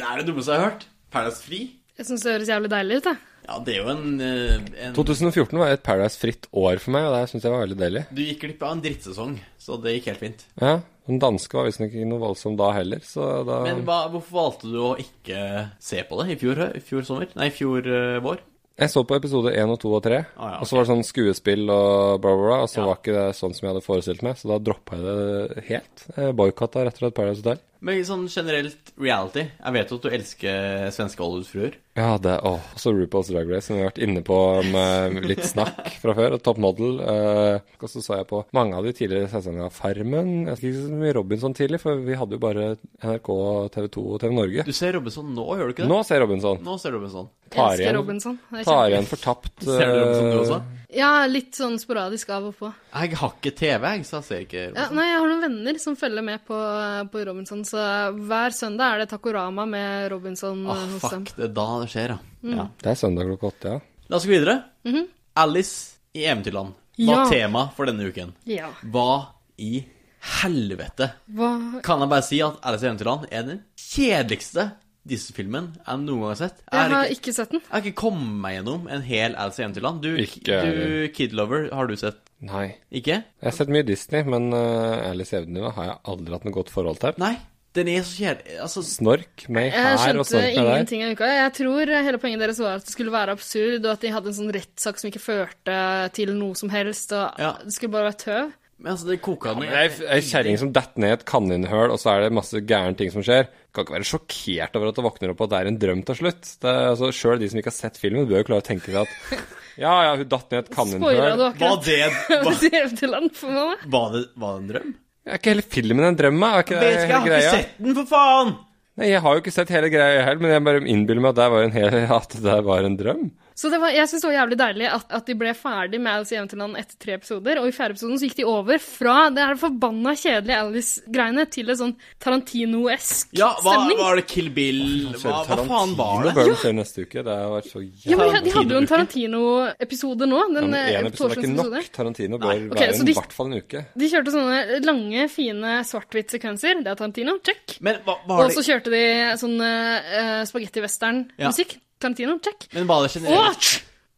[SPEAKER 1] det er det dummeste jeg har hørt. Paradise Free?
[SPEAKER 3] Jeg syns det høres jævlig deilig ut, jeg.
[SPEAKER 1] Ja, det er jo en, eh, en
[SPEAKER 4] 2014 var et Paradise-fritt år for meg, og det syns jeg var veldig deilig.
[SPEAKER 1] Du gikk glipp av en drittsesong, så det gikk helt fint.
[SPEAKER 4] Ja, Den danske var visstnok ikke noe voldsom da heller, så da
[SPEAKER 1] Men hva, hvorfor valgte du å ikke se på det i fjor, hø- i fjor sommer? Nei, i fjor eh, vår?
[SPEAKER 4] Jeg så på episode 1 og 2 og 3,
[SPEAKER 1] Ah, ja,
[SPEAKER 4] og så var det sånn skuespill og bla, bla, bla, og så
[SPEAKER 1] Ja.
[SPEAKER 4] var ikke det sånn som jeg hadde forestilt meg, så da droppa jeg det helt. Jeg boikotta rett og slett Paradise Hotel.
[SPEAKER 1] Men sånn generelt reality. Jeg vet jo at du elsker svenske Hollywood-fruer.
[SPEAKER 4] Ja, det Å. Og så RuPaul's Drag Race, som vi har vært inne på med litt snakk fra før, og Top Model. eh, og så så jeg på mange av de tidligere sesongene av Farmen. Jeg husker ikke så mye Robinson tidlig, for vi hadde jo bare NRK, TV 2 og TV Norge.
[SPEAKER 1] Du ser Robinson nå, gjør du ikke det?
[SPEAKER 4] Nå ser jeg Robinson.
[SPEAKER 1] Nå ser Robinson.
[SPEAKER 4] Tar
[SPEAKER 3] Elsker
[SPEAKER 4] igjen,
[SPEAKER 3] Robinson. Det er
[SPEAKER 4] tar
[SPEAKER 3] kjempe-
[SPEAKER 4] igjen fortapt
[SPEAKER 1] Ser du Robinson du også?
[SPEAKER 4] eh,
[SPEAKER 3] Ja, litt sånn sporadisk av og på.
[SPEAKER 1] Jeg har ikke TV, jeg, så jeg ser ikke
[SPEAKER 3] Ja,
[SPEAKER 1] Robinson.
[SPEAKER 3] nei, jeg har noen venner som følger med på, på Robinson, så hver søndag er det Takorama med Robinson
[SPEAKER 1] Ah,
[SPEAKER 3] eh, hos dem. Mm.
[SPEAKER 1] fuck, det er da det skjer, ja. ja.
[SPEAKER 4] Det er søndag klokka åtte, ja.
[SPEAKER 1] La oss gå videre. Alice i Eventyrland var
[SPEAKER 3] Mhm. Ja.
[SPEAKER 1] tema for denne uken.
[SPEAKER 3] Ja.
[SPEAKER 1] Hva i helvete?
[SPEAKER 3] Hva
[SPEAKER 1] Kan jeg bare si at Alice i Eventyrland er den kjedeligste Disney-filmen jeg noen gang har sett.
[SPEAKER 3] Jeg
[SPEAKER 1] er
[SPEAKER 3] har
[SPEAKER 1] ikke-
[SPEAKER 3] ikke sett den.
[SPEAKER 1] jeg har ikke kommet meg gjennom en hel Alice i Eventyrland. Du,
[SPEAKER 4] Ikke
[SPEAKER 1] du
[SPEAKER 4] heller.
[SPEAKER 1] Kid Lover, har du sett?
[SPEAKER 4] Nei.
[SPEAKER 1] Ikke?
[SPEAKER 4] Jeg har sett mye Disney, men eh, Alice i Eventyrland har jeg aldri hatt noe godt forhold til.
[SPEAKER 1] Nei. Den er så kjedelig. Altså,
[SPEAKER 4] Snork meg
[SPEAKER 3] Jeg
[SPEAKER 4] her altså, og
[SPEAKER 3] skjønte
[SPEAKER 4] snork meg der.
[SPEAKER 3] ingenting av uka. Jeg tror hele poenget deres var at det skulle være absurd, og at de hadde en sånn rettssak som ikke førte til noe som helst, og
[SPEAKER 1] Ja.
[SPEAKER 3] det skulle bare være tøv.
[SPEAKER 1] men altså, det koker
[SPEAKER 4] Ja,
[SPEAKER 1] ned.
[SPEAKER 4] men Ei ei kjerring som detter ned i et kaninhull, og så er det masse gærne ting som skjer. Kan ikke være sjokkert over at du våkner opp og at det er en drøm til slutt. Det er, altså, Sjøl de som ikke har sett filmen, bør jo klare å tenke seg at ja, ja, hun datt ned i et
[SPEAKER 3] Spoila du
[SPEAKER 4] kaninhull.
[SPEAKER 1] Var
[SPEAKER 3] akkurat
[SPEAKER 1] det,
[SPEAKER 3] <laughs>
[SPEAKER 1] var,
[SPEAKER 3] Eventyrland for meg?
[SPEAKER 1] var, det, var det en drøm?
[SPEAKER 4] Er ikke hele filmen en drøm, da? Er ikke det
[SPEAKER 1] Vet ikke, jeg
[SPEAKER 4] hele
[SPEAKER 1] har
[SPEAKER 4] greia?
[SPEAKER 1] ikke sett den, for faen!
[SPEAKER 4] Nei, jeg har jo ikke sett hele greia jeg heller, men jeg bare innbiller meg at det var en, hel, <laughs> at det var en drøm.
[SPEAKER 3] Så det var, jeg syns det var jævlig deilig at, at de ble ferdig med Alice i Eventyrland etter tre episoder, og i fjerde episoden så gikk de over fra det her forbanna kjedelige Alice-greiene til en sånn Tarantino-esk
[SPEAKER 1] Ja, hva,
[SPEAKER 3] stemning.
[SPEAKER 1] var det Kill Bill? Hva, hva faen var
[SPEAKER 4] Tarantino
[SPEAKER 1] det?
[SPEAKER 4] bør vi se neste uke. Det har vært så
[SPEAKER 3] Ja,
[SPEAKER 4] jævlig
[SPEAKER 3] men de hadde jo en Tarantino-episode nå. Den
[SPEAKER 4] Men
[SPEAKER 3] eh,
[SPEAKER 4] Én episode er ikke
[SPEAKER 3] torsdagsepisode.
[SPEAKER 4] nok. Tarantino bør
[SPEAKER 3] ok,
[SPEAKER 4] være
[SPEAKER 3] så
[SPEAKER 4] en-
[SPEAKER 3] de-
[SPEAKER 4] i hvert fall en uke.
[SPEAKER 3] De kjørte sånne lange, fine svart-hvitt-sekvenser. Det er Tarantino. Check.
[SPEAKER 1] Men hva, var
[SPEAKER 3] Og så
[SPEAKER 1] det,
[SPEAKER 3] kjørte de sånn uh,
[SPEAKER 1] Ja.
[SPEAKER 3] spagetti-western-musikk. Tarantino. Check.
[SPEAKER 1] men var det generelt?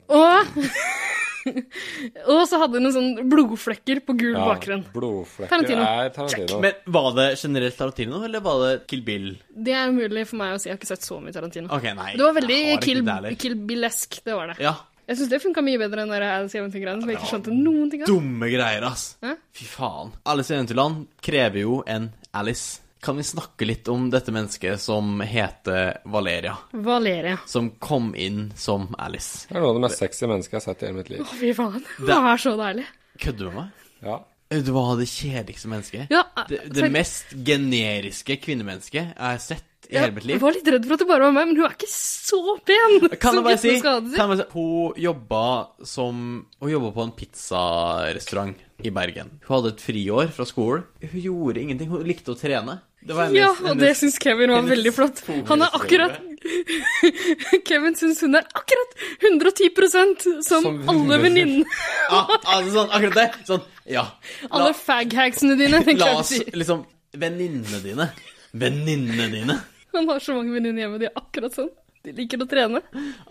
[SPEAKER 3] Og, og, <laughs> og så hadde hun en sånn blodflekker på gul bakgrunn.
[SPEAKER 4] blodflekker
[SPEAKER 3] Tarantino.
[SPEAKER 4] er Tarantino.
[SPEAKER 1] Men var det generelt Tarantino, eller var det Kill Bill?
[SPEAKER 3] Det er umulig for meg å si. Jeg har ikke sett så mye Tarantino.
[SPEAKER 1] Ok, nei.
[SPEAKER 3] Det var
[SPEAKER 1] jeg
[SPEAKER 3] veldig
[SPEAKER 1] har ikke
[SPEAKER 3] Kill,
[SPEAKER 1] det heller.
[SPEAKER 3] kill Bill-esk, det var det.
[SPEAKER 1] Ja,
[SPEAKER 3] Jeg syns det funka mye bedre enn den der Alice i Eventyrland, som jeg ikke skjønte noen ting av.
[SPEAKER 1] dumme greier, ass.
[SPEAKER 3] Hæ?
[SPEAKER 1] Fy faen. Alice i Eventyrland krever jo en Alice. Kan vi snakke litt om dette mennesket som heter Valeria,
[SPEAKER 3] Valeria.
[SPEAKER 1] som kom inn som Alice?
[SPEAKER 4] Det er noe av det mest sexy mennesket jeg har sett i hele mitt liv.
[SPEAKER 3] Å, fy faen. <laughs> Det er så deilig.
[SPEAKER 1] Kødder du med meg?
[SPEAKER 4] Ja.
[SPEAKER 1] Du var det kjedeligste mennesket.
[SPEAKER 3] Ja,
[SPEAKER 1] Det, det
[SPEAKER 3] for-
[SPEAKER 1] mest generiske kvinnemennesket jeg har sett i
[SPEAKER 3] Ja,
[SPEAKER 1] hele mitt liv.
[SPEAKER 3] Jeg var litt redd for at det bare var meg, men hun er ikke så pen!
[SPEAKER 1] Kan jeg
[SPEAKER 3] som
[SPEAKER 1] bare si,
[SPEAKER 3] guttene skal ha
[SPEAKER 1] kan
[SPEAKER 3] det
[SPEAKER 1] jeg bare si
[SPEAKER 3] til.
[SPEAKER 1] Hun jobba som Hun jobba på en pizzarestaurant i Bergen. Hun hadde et friår fra skolen. Hun gjorde ingenting. Hun likte å trene. Det var hennes-
[SPEAKER 3] Ja, og det
[SPEAKER 1] hennes-
[SPEAKER 3] syns Kevin var
[SPEAKER 1] hennes
[SPEAKER 3] veldig flott. Han er akkurat <laughs> Kevin syns hun er akkurat 110 som
[SPEAKER 4] Som
[SPEAKER 3] alle venninnene,
[SPEAKER 1] Ja, altså, sånn, akkurat det. Sånn, ja. La,
[SPEAKER 3] alle faghagsene dine. tenker
[SPEAKER 1] la
[SPEAKER 3] jeg å
[SPEAKER 1] oss
[SPEAKER 3] si.
[SPEAKER 1] liksom Venninnene dine. Venninnene dine.
[SPEAKER 3] Han har så mange venninner hjemme, de er akkurat sånn. De liker å trene.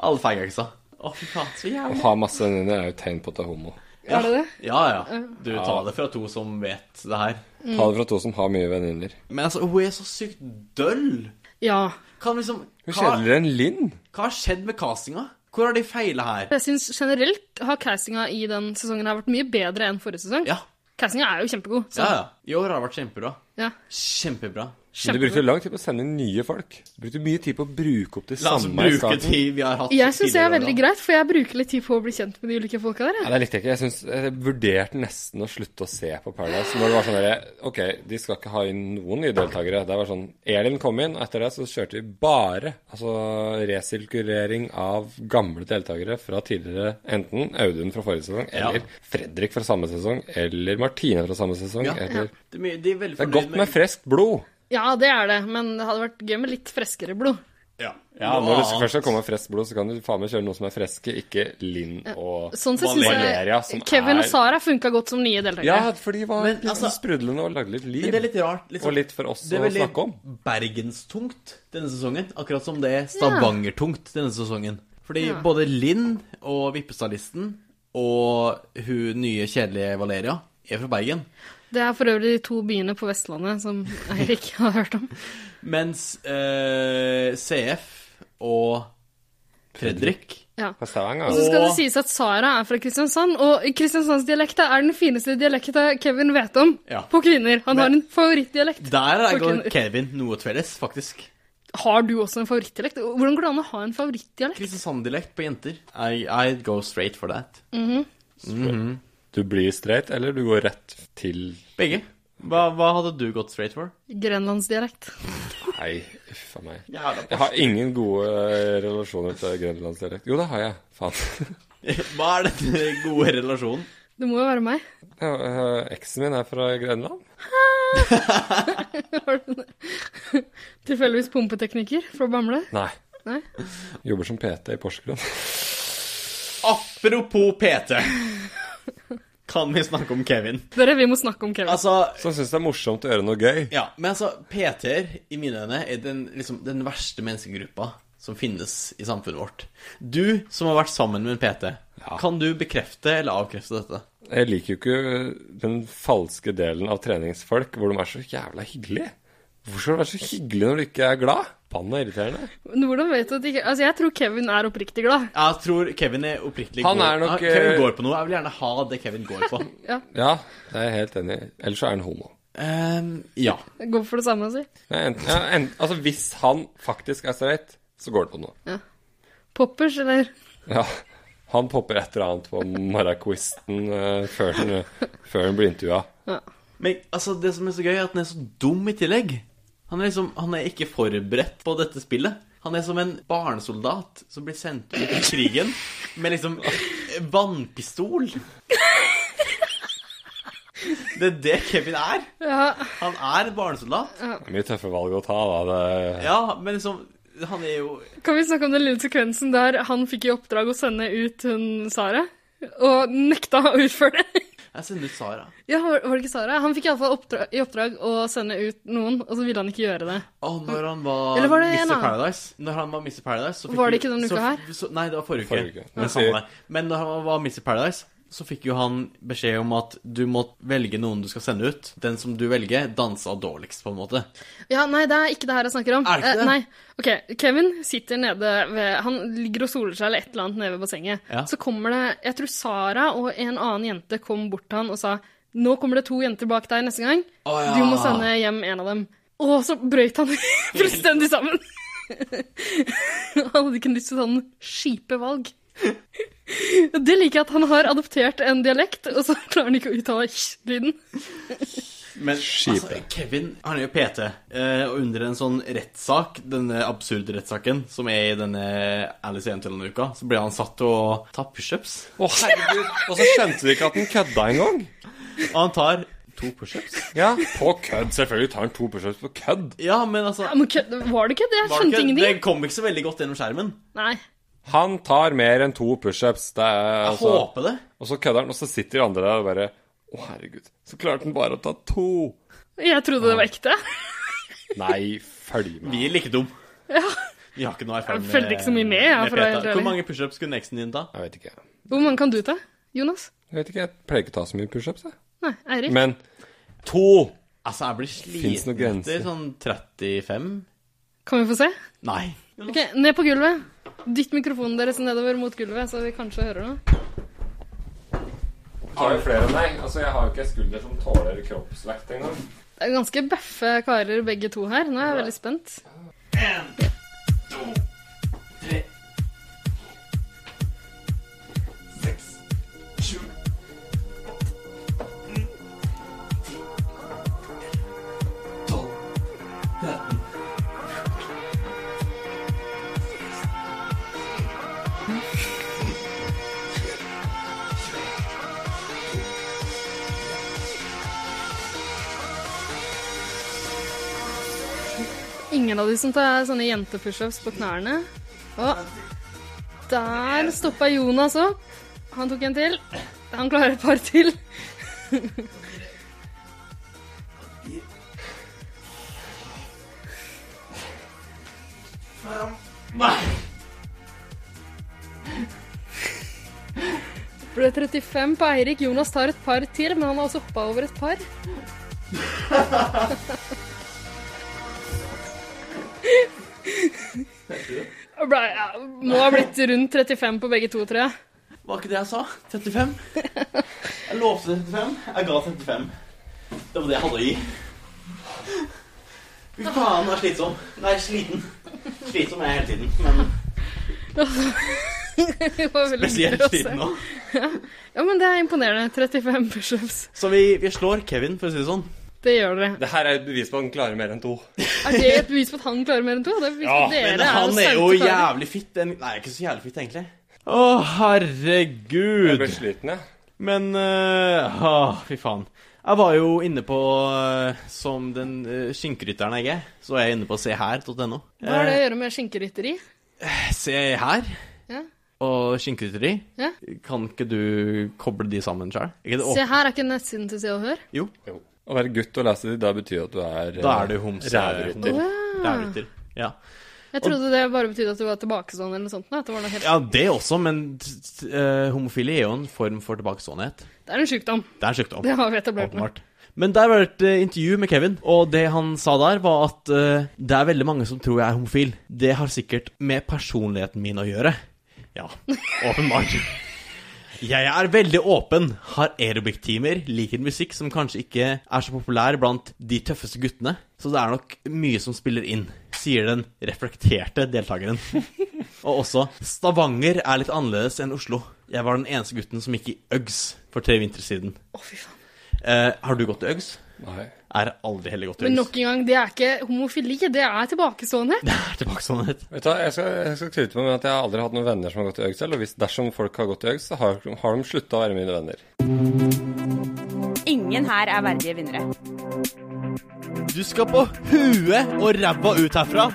[SPEAKER 1] Alle feigaksa. Å, fy faen, så
[SPEAKER 4] Å
[SPEAKER 1] jævlig.
[SPEAKER 4] ha masse venninner er jo et tegn på at du er homo.
[SPEAKER 3] Er det det?
[SPEAKER 1] Ja, ja. Du tar det fra to som vet det her.
[SPEAKER 3] Mm.
[SPEAKER 4] Ta det fra to som har mye venninner.
[SPEAKER 1] Men altså, hun er så sykt døll.
[SPEAKER 3] Ja.
[SPEAKER 1] Kan liksom
[SPEAKER 4] Hun er
[SPEAKER 1] hva,
[SPEAKER 4] kjedeligere enn Linn.
[SPEAKER 1] hva har skjedd med castinga? Hvor har de feila her?
[SPEAKER 3] Jeg syns generelt har castinga i den sesongen her vært mye bedre enn forrige sesong.
[SPEAKER 1] Ja,
[SPEAKER 3] Castinga er jo kjempegod.
[SPEAKER 1] ja,
[SPEAKER 3] Så,
[SPEAKER 1] ja. I år har det vært kjempebra.
[SPEAKER 3] ja.
[SPEAKER 1] Kjempebra.
[SPEAKER 4] Men du brukte lang tid på å sende inn nye folk. Du brukte mye tid på å bruke opp de
[SPEAKER 1] La oss
[SPEAKER 4] samme i
[SPEAKER 1] bruke
[SPEAKER 4] starten.
[SPEAKER 1] tid vi har hatt
[SPEAKER 3] Jeg syns det er
[SPEAKER 1] tidligere
[SPEAKER 3] veldig
[SPEAKER 1] år, da.
[SPEAKER 3] greit, for jeg bruker litt tid på å bli kjent med de ulike folka der. jeg.
[SPEAKER 4] Nei, det likte jeg ikke. Jeg, synes, jeg vurderte nesten å slutte å se på Paradise. Når det var sånn der, OK, de skal ikke ha inn noen nye deltakere. Det var sånn Elin kom inn, og etter det så kjørte vi bare altså resirkulering av gamle deltakere fra tidligere Enten Audun fra forrige sesong, eller Fredrik fra samme sesong, eller Martine fra samme sesong.
[SPEAKER 1] Ja.
[SPEAKER 4] Eller,
[SPEAKER 1] De, er mye- de er veldig
[SPEAKER 4] det er
[SPEAKER 1] fornøyd
[SPEAKER 4] godt med friskt blod.
[SPEAKER 3] Ja, det er det, men det hadde vært gøy med litt freskere blod.
[SPEAKER 1] ja.
[SPEAKER 4] Ja,
[SPEAKER 1] Noe
[SPEAKER 4] Når det
[SPEAKER 1] annet.
[SPEAKER 4] først skal komme friskt blod, så kan du faen meg kjøre noe som er friske, ikke Linn og
[SPEAKER 3] Sånn sett syns
[SPEAKER 4] Valeria,
[SPEAKER 3] jeg
[SPEAKER 4] som
[SPEAKER 3] Kevin og
[SPEAKER 4] er-
[SPEAKER 3] Sara funka godt som nye deltakere.
[SPEAKER 4] Ja, for de var
[SPEAKER 1] Men,
[SPEAKER 4] litt
[SPEAKER 1] altså-
[SPEAKER 4] sånn sprudlende og lagde litt liv.
[SPEAKER 1] Men det er litt rart. liksom.
[SPEAKER 4] Og litt for oss
[SPEAKER 1] Det er
[SPEAKER 4] å
[SPEAKER 1] veldig
[SPEAKER 4] snakke om.
[SPEAKER 1] bergenstungt denne sesongen. Akkurat som det er stavangertungt denne sesongen. Fordi både Linn og Vippestadlisten og hun nye, kjedelige Valeria er fra Bergen.
[SPEAKER 3] Det er for øvrig de to byene på Vestlandet som Eirik <laughs> har hørt om.
[SPEAKER 1] Mens eh, CF og Fredrik
[SPEAKER 3] Ja.
[SPEAKER 4] Fra Stavanger.
[SPEAKER 3] Og så skal
[SPEAKER 1] Og-
[SPEAKER 3] det sies at Sara er fra Kristiansand, og Kristiansandsdialekta er den fineste dialekta Kevin vet om
[SPEAKER 1] Ja.
[SPEAKER 3] på kvinner. Han har
[SPEAKER 1] Men-
[SPEAKER 3] en favorittdialekt.
[SPEAKER 1] Der er jeg
[SPEAKER 3] For
[SPEAKER 1] og
[SPEAKER 3] kvinner.
[SPEAKER 1] Kevin noe felles, faktisk.
[SPEAKER 3] Har du også en favorittdialekt? Hvordan går det an å ha en favorittdialekt?
[SPEAKER 1] Kristiansand-dialekt på jenter. I, I'd go straight for that.
[SPEAKER 4] Du blir straight, eller du går rett til
[SPEAKER 1] Begge. Hva, hva hadde du gått straight for?
[SPEAKER 3] Grenlandsdialekt.
[SPEAKER 4] Nei, uff a meg.
[SPEAKER 1] Jævla
[SPEAKER 4] Jeg har ingen gode eh, relasjoner til grenlandsdialekt. Jo, det har jeg. Faen.
[SPEAKER 1] <laughs>
[SPEAKER 4] <laughs>
[SPEAKER 1] Hva er denne gode relasjonen?
[SPEAKER 3] Det må jo være meg. <laughs>
[SPEAKER 4] Ja, eh, Eksen min er fra Grenland.
[SPEAKER 3] Har du det? <laughs> Tilfeldigvis pumpetekniker fra Bamble.
[SPEAKER 4] Nei.
[SPEAKER 3] Nei.
[SPEAKER 4] Jobber som PT i Porsgrunn.
[SPEAKER 1] Apropos PT. Kan vi snakke om Kevin?
[SPEAKER 3] Dere, vi må snakke om Kevin.
[SPEAKER 1] Altså,
[SPEAKER 4] Som syns det er morsomt å gjøre noe gøy.
[SPEAKER 1] Ja, men altså, PT-er i mine øyne er den, liksom, den verste menneskegruppa som finnes i samfunnet vårt. Du som har vært sammen med en PT, kan du bekrefte eller avkrefte dette?
[SPEAKER 4] Jeg liker jo ikke eh, den falske delen av treningsfolk hvor de er så jævla hyggelige. Hvorfor skal du være så hyggelig når du ikke er glad? Banna irriterende.
[SPEAKER 3] Men Hvordan vet du at ikke Altså, jeg tror Kevin er oppriktig glad.
[SPEAKER 1] Jeg tror Kevin er oppriktig
[SPEAKER 4] Han
[SPEAKER 1] går-
[SPEAKER 4] er nok,
[SPEAKER 1] Ja, Kevin
[SPEAKER 4] eh,
[SPEAKER 1] går på noe. Jeg vil gjerne ha det Kevin går
[SPEAKER 4] <laughs>
[SPEAKER 1] på.
[SPEAKER 3] Ja,
[SPEAKER 4] Ja, det er jeg helt enig i. Ellers så er han homo.
[SPEAKER 1] Ehm, ja.
[SPEAKER 3] jeg går for det samme, altså. si.
[SPEAKER 4] Nei, enten, ja, en, altså, hvis han faktisk er streit, så går det på noe.
[SPEAKER 3] Poppers, eller
[SPEAKER 4] Ja, han popper et eller annet på morgenquizen eh, før, den- før han blir intervjua.
[SPEAKER 1] Men altså, det som er så gøy, er at han er så dum i tillegg. Han er liksom, han er ikke forberedt på dette spillet. Han er som en barnesoldat som blir sendt ut i krigen med liksom vannpistol. Det er det Kevin er.
[SPEAKER 3] Ja,
[SPEAKER 1] Han er en barnesoldat.
[SPEAKER 4] Det er mye tøffe valg å ta, da. Det,
[SPEAKER 1] Ja, men liksom Han er jo
[SPEAKER 3] Kan vi snakke om den lille sekvensen der han fikk i oppdrag å sende ut hun Sara, og nekta å utføre det?
[SPEAKER 1] Jeg sender ut Sara.
[SPEAKER 3] Ja, var var det ikke Sara? Han fikk iallfall oppdrag, i oppdrag å sende ut noen, og så ville han ikke gjøre det.
[SPEAKER 1] Å, når han var,
[SPEAKER 3] Eller var det en
[SPEAKER 1] Mr.
[SPEAKER 3] annen?
[SPEAKER 1] Paradise Når han var Mr. Paradise så fikk
[SPEAKER 3] Var det
[SPEAKER 1] jo-
[SPEAKER 3] ikke denne uka
[SPEAKER 1] så-
[SPEAKER 3] her?
[SPEAKER 1] Så, nei, det var forrige uke.
[SPEAKER 4] Forrige uke.
[SPEAKER 1] Men,
[SPEAKER 4] Men
[SPEAKER 1] samme
[SPEAKER 4] sier-
[SPEAKER 1] det. Men når han var Mr. Paradise, så fikk jo han beskjed om at du må velge noen du skal sende ut. Den som du velger, dansa dårligst, på en måte.
[SPEAKER 3] Ja, nei, det er ikke det her jeg snakker om.
[SPEAKER 1] Er det ikke
[SPEAKER 3] Eh,
[SPEAKER 1] det?
[SPEAKER 3] nei. Ok, Kevin sitter nede ved Han ligger og soler seg eller et eller annet nede ved bassenget.
[SPEAKER 1] Ja.
[SPEAKER 3] Så kommer det Jeg tror Sara og en annen jente kom bort til han og sa Nå kommer det to jenter bak deg neste gang.
[SPEAKER 1] Å, ja.
[SPEAKER 3] Du må sende hjem en av dem. Og så brøyt han <laughs> fullstendig sammen. <laughs> han hadde ikke lyst til sånn kjipe valg. <laughs> Det liker jeg at han har adoptert en dialekt, og så klarer han ikke å uttale ch-lyden.
[SPEAKER 1] Men
[SPEAKER 4] Skipet.
[SPEAKER 1] altså, Kevin han er jo PT, eh, og under en sånn rettssak, denne absurde rettssaken som er i denne Alice i Eventyrland-uka, så ble han satt til å ta pushups.
[SPEAKER 4] Å, herregud! Og så skjønte de ikke at han kødda engang.
[SPEAKER 1] Og han tar to pushups.
[SPEAKER 4] Ja, på kødd. Selvfølgelig tar han to pushups på kødd.
[SPEAKER 1] Ja, men altså
[SPEAKER 3] Ja, men kødd- Var det ikke det? Jeg
[SPEAKER 1] var det,
[SPEAKER 3] skjønte
[SPEAKER 1] ikke,
[SPEAKER 3] ingenting.
[SPEAKER 1] det kom ikke så veldig godt gjennom skjermen.
[SPEAKER 3] Nei.
[SPEAKER 4] Han tar mer enn to pushups. Det
[SPEAKER 1] Jeg
[SPEAKER 4] er altså
[SPEAKER 1] håper det.
[SPEAKER 4] Og så kødder han, og så sitter de andre der og bare Å, herregud. Så klarte han bare å ta to.
[SPEAKER 3] Jeg trodde det var ekte.
[SPEAKER 4] Nei, følg med.
[SPEAKER 1] Vi er like dum. Vi har ikke noe erfaring
[SPEAKER 3] Jeg følte ikke så mye med, jeg,
[SPEAKER 1] med
[SPEAKER 3] for å være
[SPEAKER 1] PETA.
[SPEAKER 3] helt ærlig.
[SPEAKER 1] Hvor mange pushups kunne eksen din ta?
[SPEAKER 4] Jeg vet ikke.
[SPEAKER 3] Hvor mange kan du ta, Jonas?
[SPEAKER 4] Jeg vet ikke, jeg pleier ikke å ta så mye pushups, jeg.
[SPEAKER 3] Nei, Eirik?
[SPEAKER 4] Men to!
[SPEAKER 1] Altså, jeg blir
[SPEAKER 4] Finnes noen
[SPEAKER 1] sliten
[SPEAKER 4] grenser?
[SPEAKER 1] etter sånn 35.
[SPEAKER 3] Kan vi få se?
[SPEAKER 1] Nei.
[SPEAKER 3] Ok, Ned på gulvet. Dytt mikrofonen deres nedover mot gulvet, så vi kanskje hører noe.
[SPEAKER 4] Jeg tar jo flere enn deg. Altså, jeg har jo ikke en skulder som tåler kroppsvekt engang.
[SPEAKER 3] Det er ganske bøffe karer begge to her. Nå er jeg veldig spent. Ingen av de som tar sånne jentepushups på knærne. Og der stoppa Jonas opp. Han tok en til. Han klarer et par til. Ble 35 på Eirik. Jonas tar et par til, men han har også hoppa over et par. Og ble, ja, må ha blitt rundt 35 på begge to, tror jeg.
[SPEAKER 1] Var ikke det jeg sa?
[SPEAKER 4] <laughs>
[SPEAKER 1] 35? Jeg lovte 35. Jeg ga 35. Det var det jeg hadde å gi. Fy faen, jeg er slitsom. Nei, sliten. Slitsom er jeg hele tiden, men
[SPEAKER 3] <laughs> Det var veldig
[SPEAKER 1] spesielt
[SPEAKER 3] gøy å se.
[SPEAKER 1] sliten nå.
[SPEAKER 3] Ja, men det er imponerende. 35 pushups.
[SPEAKER 1] Så vi, vi slår Kevin, for å si det sånn.
[SPEAKER 3] Det gjør dere.
[SPEAKER 4] Det her er et bevis på at han klarer mer enn to.
[SPEAKER 3] Er det et bevis på at han klarer mer enn to? Det er bevis på
[SPEAKER 4] Ja,
[SPEAKER 3] at dere
[SPEAKER 1] Men han er
[SPEAKER 3] er
[SPEAKER 1] jo
[SPEAKER 3] saute karer.
[SPEAKER 1] jævlig fitt. Den... Nei, ikke så jævlig fitt, egentlig. Å, herregud.
[SPEAKER 4] Jeg ble sliten, jeg.
[SPEAKER 1] Men øh, ah, Fy faen. Jeg var jo inne på, øh, som den øh, skinkerytteren jeg er, så er jeg inne på seher.no.
[SPEAKER 3] Hva har det å gjøre med skinkerytteri?
[SPEAKER 1] Eh, se her.
[SPEAKER 3] Ja.
[SPEAKER 1] og skinkegryteri.
[SPEAKER 3] Ja.
[SPEAKER 1] Kan ikke du koble de sammen sjøl?
[SPEAKER 3] Se, her er ikke nettsiden til Se og Hør.
[SPEAKER 1] Jo,
[SPEAKER 4] Å være gutt og lese de, da betyr jo at du er eh,
[SPEAKER 1] da er du homse.
[SPEAKER 4] Rævrytter.
[SPEAKER 3] Å, ja.
[SPEAKER 1] Rævrytter. Ja.
[SPEAKER 3] Jeg trodde det bare betydde at du var tilbakestående eller noe sånt. nei, At det, var noe helt...
[SPEAKER 1] ja, det også, men uh, homofili er jo en form for tilbakeståenhet.
[SPEAKER 3] det er en sykdom.
[SPEAKER 1] Det er en sykdom.
[SPEAKER 3] Det har vi etablert nå.
[SPEAKER 1] Åpenbart. Men der var det et eh, intervju med Kevin, og det han sa der, var at eh, det er veldig mange som tror jeg er homofil. Det har sikkert med personligheten min å gjøre. Ja, <laughs> åpenbart. Jeg er veldig åpen, har aerobic-timer, liker musikk som kanskje ikke er så populær blant de tøffeste guttene, så det er nok mye som spiller inn, sier den reflekterte
[SPEAKER 3] <laughs>
[SPEAKER 1] deltakeren. Og også Stavanger er litt annerledes enn Oslo. Jeg var den eneste gutten som gikk i Uggs for tre vintre siden.
[SPEAKER 3] Å, fy faen.
[SPEAKER 1] Eh, har du gått til Uggs?
[SPEAKER 4] Nei.
[SPEAKER 1] Er aldri heller gått til
[SPEAKER 3] Men
[SPEAKER 1] Uggs.
[SPEAKER 3] nok en gang, det er ikke homofili, det er tilbakeståenhet.
[SPEAKER 1] Det <laughs> er tilbakeståenhet.
[SPEAKER 4] Vet du, hva, jeg skal, jeg skal skryte på meg at jeg har aldri hatt noen venner som har gått i Øgs selv, og hvis dersom folk har gått i Øgs, så har, har de slutta å være mine venner.
[SPEAKER 6] Ingen her er verdige vinnere.
[SPEAKER 1] Du skal på huet og ræva ut herfra.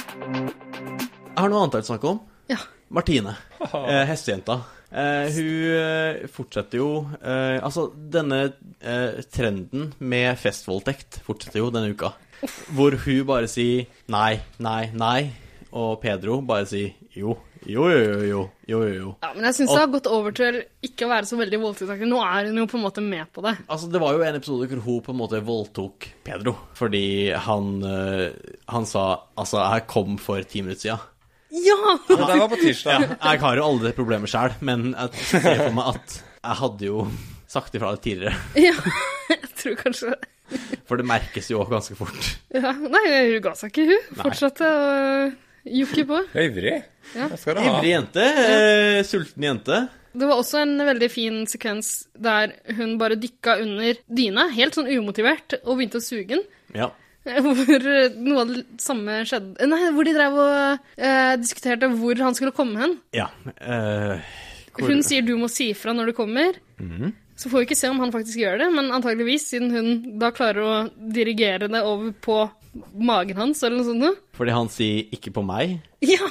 [SPEAKER 1] Jeg har noe annet jeg vil snakke om.
[SPEAKER 3] Ja.
[SPEAKER 1] <laughs> Martine. Eh, hestejenta. Eh, hun eh, fortsetter jo eh, Altså, denne eh, trenden med festvoldtekt fortsetter jo denne uka. Hvor hun bare sier nei, nei, nei, og Pedro bare sier jo, jo, jo, jo, jo, jo, jo. jo.
[SPEAKER 3] Ja, men jeg syns det har gått over til ikke å være så veldig voldtektsaktig. Nå er hun jo på en måte med på det.
[SPEAKER 1] Altså, Det var jo en episode hvor hun på en måte voldtok Pedro. Fordi han, eh, han sa Altså, jeg kom for ti minutter siden.
[SPEAKER 3] Ja!
[SPEAKER 4] Det der var på tirsdag.
[SPEAKER 1] Jeg har jo alle det problemet sjøl, men jeg ser for meg at jeg hadde jo sagt ifra litt tidligere.
[SPEAKER 3] <laughs> ja. Jeg tror kanskje
[SPEAKER 1] For det merkes jo ganske fort.
[SPEAKER 3] ja. Nei, hun ga seg ikke, hun. Fortsatte å jokke på.
[SPEAKER 4] Jeg er ivrig.
[SPEAKER 3] Ja.
[SPEAKER 4] Jeg skal du ha.
[SPEAKER 1] Ivrig jente. Eh, sulten jente.
[SPEAKER 3] Det var også en veldig fin sekvens der hun bare dykka under dyna, helt sånn umotivert, og begynte å suge den.
[SPEAKER 1] Ja.
[SPEAKER 3] Eh, Hvor eh, noe av det samme skjedde Eh, Nei, hvor de drev og eh, diskuterte hvor han skulle komme hen.
[SPEAKER 1] ja. Eh, hvor-
[SPEAKER 3] Hun sier du må si ifra når du kommer. Så får vi ikke se om han faktisk gjør det, men antageligvis, siden hun da klarer å dirigere det over på magen hans eller noe sånt noe.
[SPEAKER 1] fordi han sier 'ikke på meg'.
[SPEAKER 3] Ja!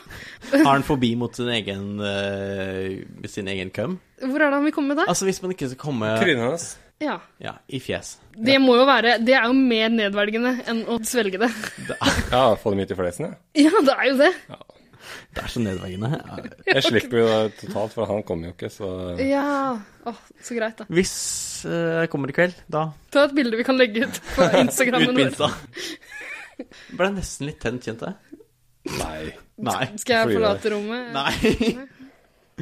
[SPEAKER 1] Har han forbi mot sin egen eh, sin egen køm?
[SPEAKER 3] Hvor er det han vil komme da?
[SPEAKER 1] Altså, hvis man ikke skal komme
[SPEAKER 4] Trynet hennes.
[SPEAKER 3] Ja.
[SPEAKER 1] Ja, i fjes.
[SPEAKER 3] Det må jo være Det er jo mer nedverdigende enn å svelge det. <laughs>
[SPEAKER 4] Ja, få dem hit i flesen, ja.
[SPEAKER 3] Ja, det er jo det.
[SPEAKER 1] Det er så nedverdigende.
[SPEAKER 4] Jeg slipper jo det totalt, for han kommer jo ikke, så
[SPEAKER 3] Ja. Åh, så greit, da.
[SPEAKER 1] Hvis eh, jeg kommer i kveld, da
[SPEAKER 3] Ta et bilde vi kan legge ut
[SPEAKER 4] <laughs>
[SPEAKER 3] på Instagrammen vår.
[SPEAKER 1] utminsta. <laughs> Ble nesten litt tent, kjente jeg.
[SPEAKER 4] Nei.
[SPEAKER 1] Nei.
[SPEAKER 3] Skal
[SPEAKER 4] Fordi
[SPEAKER 3] jeg
[SPEAKER 4] det-
[SPEAKER 3] forlate rommet?
[SPEAKER 1] Nei. <laughs>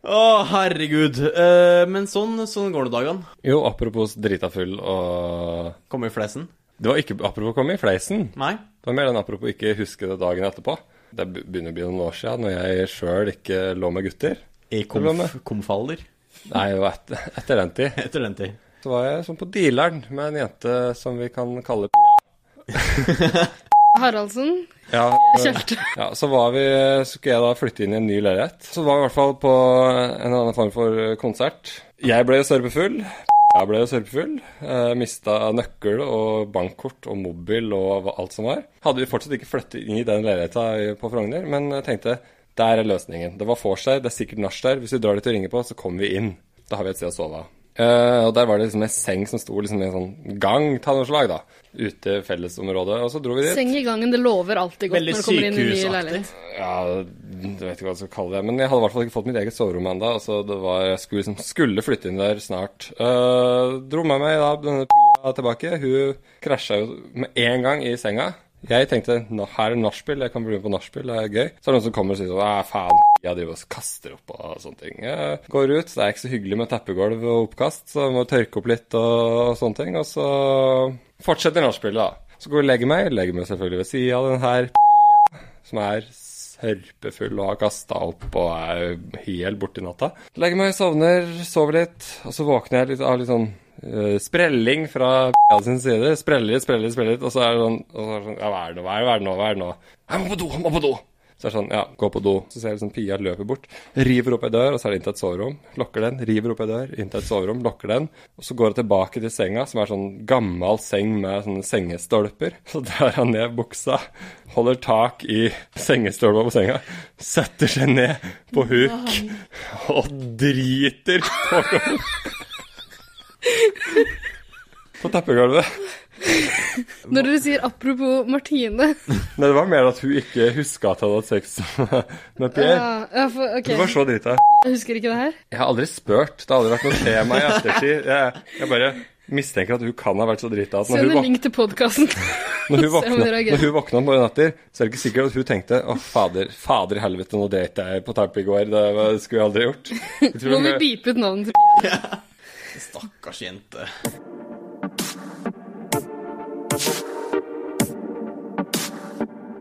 [SPEAKER 1] Å, herregud. Eh, men sånn, sånn går det dagene.
[SPEAKER 4] Jo, apropos drita full og
[SPEAKER 1] Kommer i flesen.
[SPEAKER 4] Det var ikke apropos å komme i fleisen.
[SPEAKER 1] Nei.
[SPEAKER 4] Det var mer den apropos ikke huske det dagen etterpå. Det be- begynner å bli noen år siden når jeg sjøl ikke lå med gutter.
[SPEAKER 1] I komf, komfalder. <laughs>
[SPEAKER 4] Nei, jo, et, <laughs> etter den tid
[SPEAKER 1] Etter den tid.
[SPEAKER 4] så var jeg sånn på dealeren med en jente som vi kan kalle Pia.
[SPEAKER 3] Haraldsen?
[SPEAKER 4] Ja,
[SPEAKER 3] Kjølte.
[SPEAKER 4] ja, så var vi, så skulle jeg da flytte inn i en ny leilighet. Så var vi i hvert fall på en eller annen form for konsert. Jeg ble jo sørpefull. Jeg ble jo sørpefull. Eh, Mista nøkkel og bankkort og mobil og hva- alt som var. Hadde vi fortsatt ikke flyttet inn i den leiligheta i- på Frogner, men jeg tenkte der er løsningen. Det var vors der, det er sikkert nach der. Hvis vi drar dit og ringer på, så kommer vi inn. Da har vi et sted å sove. Eh, og der var det liksom en seng som sto liksom i en sånn gang av noe slag, da. Ute i fellesområdet. Og så dro vi dit.
[SPEAKER 3] Seng i gangen, det lover alltid godt
[SPEAKER 1] Veldig
[SPEAKER 3] når du kommer inn i en ny
[SPEAKER 1] sykehusaktig.
[SPEAKER 3] leilighet.
[SPEAKER 4] Ja, jeg vet ikke hva jeg skal kalle det. Men jeg hadde i hvert fall ikke fått mitt eget soverom ennå. Altså, det var- jeg skulle, liksom, skulle flytte inn der snart. Eh, dro med meg da denne pia tilbake. Hun krasja jo med en gang i senga. Jeg tenkte "Nå, her er nachspiel, jeg kan bli med på nachspiel, det er gøy. Så er det noen som kommer og sier sånn Æh, faen, pia driver og kaster opp og sånne ting. Jeg går ut, det er ikke så hyggelig med teppegulv og oppkast, så jeg må tørke opp litt og, og sånne ting. Og så fortsetter nachspielet, da. Så går jeg og legger meg. Legger meg selvfølgelig ved sida av den her som er sørpefull og har kasta opp og er helt borte i natta. Legger meg, sovner, sover litt, og så våkner jeg litt av litt sånn eh, sprelling fra p***a sin side. Spreller litt, spreller litt, spreller litt, og så er det sånn, og så er det sånn ja, Hva er det nå, hva er det nå, hva er det nå? Jeg må på do, jeg må på do! Så er det sånn, ja, gå på do. Så ser jeg liksom Pia løper bort, river opp ei dør, og så er det inn til et soverom. Lokker den, river opp ei dør, inn til et soverom, lokker den. Og så går hun tilbake til senga, som er sånn gammel seng med sånne sengestolper. Så drar han ned buksa, holder tak i sengestolpa på senga, setter seg ned på huk og driter på gulvet. På teppegulvet.
[SPEAKER 3] Når dere sier apropos
[SPEAKER 4] <laughs>
[SPEAKER 3] Martine
[SPEAKER 4] Nei, det var mer at hun ikke huska at hun hadde sex med Pierre.
[SPEAKER 3] Ja, ja, for, Ah, ok.
[SPEAKER 4] Hun var så drita.
[SPEAKER 3] Jeg husker ikke det her.
[SPEAKER 4] Jeg har aldri spurt. Det har aldri vært noe tema i ettertid. Jeg, jeg bare mistenker at hun kan ha vært så drita at når
[SPEAKER 3] Send
[SPEAKER 4] hun,
[SPEAKER 3] en
[SPEAKER 4] våk
[SPEAKER 3] link til podkasten.
[SPEAKER 4] <laughs> når hun,
[SPEAKER 3] <laughs> se om hun
[SPEAKER 4] våkna,
[SPEAKER 3] reagerer.
[SPEAKER 4] når hun våkna om morgenen etter, så er det ikke sikkert at hun tenkte Å, fader, fader i helvete, nå date jeg på Tarp i går. Det var- det skulle jeg aldri gjort. Jeg tror
[SPEAKER 3] Må
[SPEAKER 4] hun-
[SPEAKER 3] vi beepe ut navnet til
[SPEAKER 1] Stakkars jente.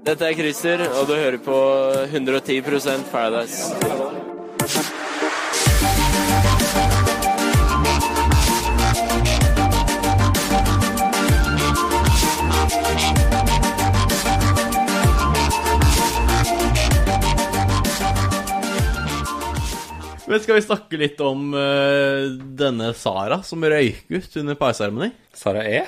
[SPEAKER 6] Dette er Christer, og du hører på 110 Paradise.
[SPEAKER 1] Men skal vi snakke litt om eh, denne Sara som røyk ut under parseremoni?
[SPEAKER 4] Sara E?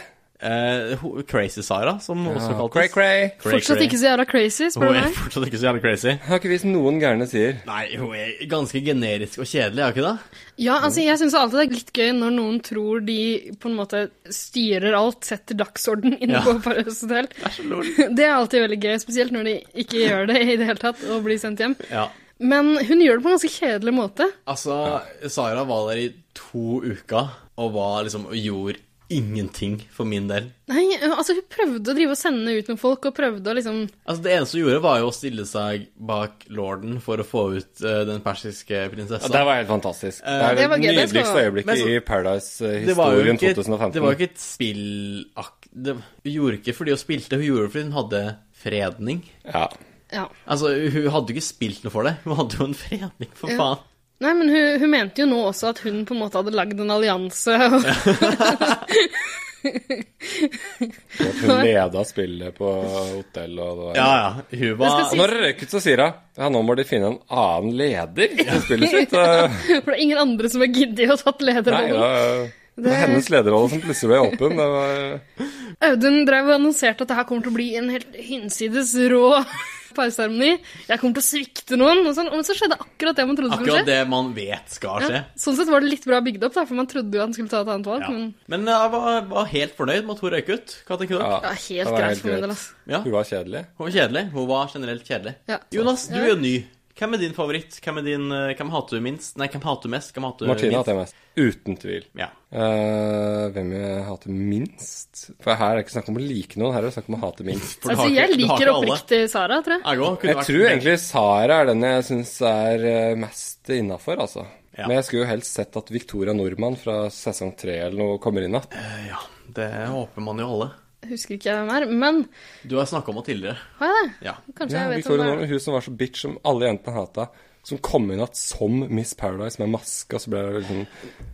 [SPEAKER 1] Eh, ho- crazy Sara, som også
[SPEAKER 4] Ja.
[SPEAKER 1] kaltes.
[SPEAKER 4] Cray Cray.
[SPEAKER 1] Cray
[SPEAKER 3] Fortsatt
[SPEAKER 1] Cray.
[SPEAKER 3] ikke så jævla crazy,
[SPEAKER 1] Hun
[SPEAKER 3] spør du
[SPEAKER 1] er
[SPEAKER 3] meg.
[SPEAKER 1] fortsatt ikke så jævlig crazy.
[SPEAKER 4] Jeg har ikke vist noen gærne sider.
[SPEAKER 1] Nei, hun er ganske generisk og kjedelig, er hun ikke det?
[SPEAKER 3] Ja, altså Jeg syns alltid det er litt gøy når noen tror de på en måte styrer alt, setter dagsorden inne
[SPEAKER 1] Ja.
[SPEAKER 3] på Paradise Hotel. <laughs> Det er alltid veldig gøy, spesielt når de ikke gjør det i det hele tatt og blir sendt hjem.
[SPEAKER 1] Ja.
[SPEAKER 3] Men hun gjør det på en ganske kjedelig måte.
[SPEAKER 1] Altså, Sara var der i to uker og var liksom og gjorde ingenting for min del.
[SPEAKER 3] Nei, altså Hun prøvde å drive og sende ut noen folk, og prøvde å liksom
[SPEAKER 1] Altså, Det eneste hun gjorde, var jo å stille seg bak lorden for å få ut eh, den persiske prinsessa.
[SPEAKER 4] Ja, det var helt fantastisk. Det er
[SPEAKER 3] det
[SPEAKER 4] det,
[SPEAKER 3] var gøy, det skal
[SPEAKER 1] Altså, eh,
[SPEAKER 3] du ha.
[SPEAKER 4] nydeligste
[SPEAKER 1] Men
[SPEAKER 4] øyeblikket
[SPEAKER 1] så-
[SPEAKER 4] i
[SPEAKER 1] Det var jo
[SPEAKER 4] Paradise-historien
[SPEAKER 1] ikke,
[SPEAKER 4] 2015.
[SPEAKER 1] det var jo ikke et spillakt det, Hun gjorde ikke fordi hun spilte, hun gjorde det fordi hun hadde fredning.
[SPEAKER 4] Ja.
[SPEAKER 3] Ja.
[SPEAKER 1] Altså, hun hadde jo ikke spilt noe for det, hun hadde jo en fredning, for
[SPEAKER 3] Ja.
[SPEAKER 1] faen.
[SPEAKER 3] Nei, men hun, hun mente jo nå også at hun på en måte hadde lagd en allianse. <laughs> Og,
[SPEAKER 4] At hun leda spillet på hotell og det var
[SPEAKER 1] Ja, ja, hun var
[SPEAKER 3] Jeg skal si-
[SPEAKER 4] Og Når det røyk ut, så sier hun ja, nå må de finne en annen
[SPEAKER 1] <laughs>
[SPEAKER 4] leder til spillet sitt. Eh,
[SPEAKER 3] for det er ingen andre som har giddet å tatt
[SPEAKER 4] Nei,
[SPEAKER 3] lederrollen.
[SPEAKER 4] da, det var hennes lederrolle som plutselig ble åpen. Det var,
[SPEAKER 3] Audun drev og annonserte at det her kommer til å bli en helt hinsides rå <laughs> parseremoni. Jeg kommer til å svikte noen. Og sånn. Men så skjedde akkurat det man trodde skulle
[SPEAKER 1] akkurat
[SPEAKER 3] skje.
[SPEAKER 1] det man vet skal skje.
[SPEAKER 3] Ja. Sånn sett var det litt bra bygd opp, da, for man trodde jo han skulle ta et annet valg.
[SPEAKER 1] Ja.
[SPEAKER 3] Men
[SPEAKER 1] Men jeg var, var helt fornøyd med at hun røyk ut. Hva tenker dere?
[SPEAKER 4] ja,
[SPEAKER 3] det var
[SPEAKER 4] det
[SPEAKER 3] helt
[SPEAKER 4] var
[SPEAKER 3] greit for min del. altså.
[SPEAKER 1] Ja.
[SPEAKER 4] Hun var kjedelig.
[SPEAKER 1] Hun var kjedelig. Hun var generelt kjedelig.
[SPEAKER 3] Ja.
[SPEAKER 1] Jonas, du
[SPEAKER 3] Ja.
[SPEAKER 1] er jo ny. Hvem er din favoritt? Hvem, er din, eh, hvem hater du minst? Nei, hvem hater du mest? Hvem hater du
[SPEAKER 4] Martine
[SPEAKER 1] minst?
[SPEAKER 4] hater jeg mest. Uten tvil.
[SPEAKER 1] Ja.
[SPEAKER 4] Eh, hvem jeg hater minst? For her er det ikke snakk om å like noen, her er det snakk om å hate minst.
[SPEAKER 1] For du
[SPEAKER 3] Altså,
[SPEAKER 1] har ikke-
[SPEAKER 3] jeg
[SPEAKER 1] du har
[SPEAKER 3] liker
[SPEAKER 1] ikke alle.
[SPEAKER 3] oppriktig Sara, tror jeg.
[SPEAKER 1] Jeg, også <laughs> kunne
[SPEAKER 4] Jeg
[SPEAKER 1] vært-
[SPEAKER 4] tror egentlig Sara er den jeg syns er eh, mest innafor, altså.
[SPEAKER 1] Ja.
[SPEAKER 4] Men jeg skulle jo helst sett at Victoria Nordmann fra sesong tre eller noe kommer inn igjen.
[SPEAKER 1] Ja, det håper man jo alle.
[SPEAKER 3] Jeg Husker ikke hvem er, men
[SPEAKER 1] Du har snakka om henne tidligere.
[SPEAKER 3] har jeg det?
[SPEAKER 1] Ja.
[SPEAKER 3] Kanskje
[SPEAKER 4] Ja,
[SPEAKER 3] jeg vet hvem
[SPEAKER 4] Victoria
[SPEAKER 3] det
[SPEAKER 4] Nordmann, hun som var så bitch som alle jentene hata. Som kom inn igjen som Miss Paradise med maske, og så ble det liksom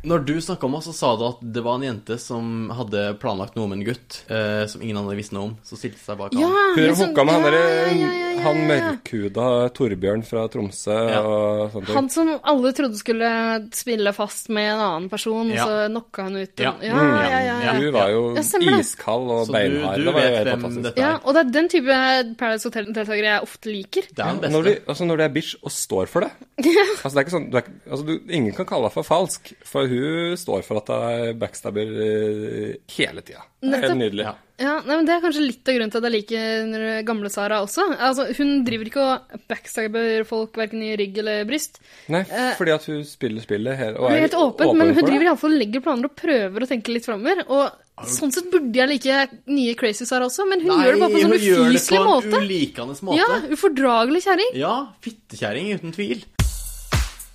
[SPEAKER 1] Når du snakka om henne, så sa du at det var en jente som hadde planlagt noe med en gutt eh, som ingen andre visste noe om, så stilte seg bak
[SPEAKER 3] er. Ja,
[SPEAKER 1] han.
[SPEAKER 4] Hun
[SPEAKER 3] men sånn-
[SPEAKER 4] hooka med han
[SPEAKER 3] ja,
[SPEAKER 4] derre
[SPEAKER 3] ja, ja, ja,
[SPEAKER 4] Han
[SPEAKER 3] ja, ja.
[SPEAKER 4] mørkhuda Torbjørn fra Tromsø
[SPEAKER 1] Ja.
[SPEAKER 4] og sånne ting.
[SPEAKER 3] Han som alle trodde skulle spille fast med en annen person,
[SPEAKER 1] Ja.
[SPEAKER 3] så knocka han ut.
[SPEAKER 1] Ja.
[SPEAKER 3] Ja, ja, ja. ja, ja.
[SPEAKER 4] Hun var jo
[SPEAKER 3] Ja, stemmer det.
[SPEAKER 4] iskald og
[SPEAKER 1] Så du,
[SPEAKER 4] beinhard.
[SPEAKER 1] du
[SPEAKER 4] Det var jo
[SPEAKER 1] vet
[SPEAKER 4] helt
[SPEAKER 1] hvem
[SPEAKER 4] fantastisk.
[SPEAKER 1] dette
[SPEAKER 3] Ja,
[SPEAKER 1] er.
[SPEAKER 3] og det er den type Paradise Hotel-deltakere jeg ofte liker.
[SPEAKER 1] Det er den
[SPEAKER 4] Når du,
[SPEAKER 1] beste.
[SPEAKER 4] altså når du er bitch og står
[SPEAKER 3] <laughs>
[SPEAKER 4] for det Altså det er ikke sånn du er, ikke- altså du, Ingen kan kalle deg for falsk, for hun står for at hun er backstabber eh, hele tida. Det er
[SPEAKER 3] Nettopp.
[SPEAKER 4] helt nydelig.
[SPEAKER 1] Ja.
[SPEAKER 3] Ja, nei, men Det er kanskje litt av grunnen til at jeg liker gamle Sara også. Altså, Hun driver ikke og backstabber folk verken i rygg eller bryst.
[SPEAKER 4] Nei, fordi at hun spiller spillet hele og
[SPEAKER 3] Hun Eh, er helt åpen, men hun
[SPEAKER 4] for
[SPEAKER 3] driver
[SPEAKER 4] det.
[SPEAKER 3] iallfall og legger planer og prøver å tenke litt framover. Og sånn sett burde jeg like nye Crazy Sara også, men hun gjør det bare på en sånn
[SPEAKER 1] hun gjør det på
[SPEAKER 3] ufyselig
[SPEAKER 1] en
[SPEAKER 3] måte.
[SPEAKER 1] ulikende
[SPEAKER 3] Ja,
[SPEAKER 1] måte.
[SPEAKER 3] Ufordragelig kjerring.
[SPEAKER 1] Ja, fittekjerring uten tvil.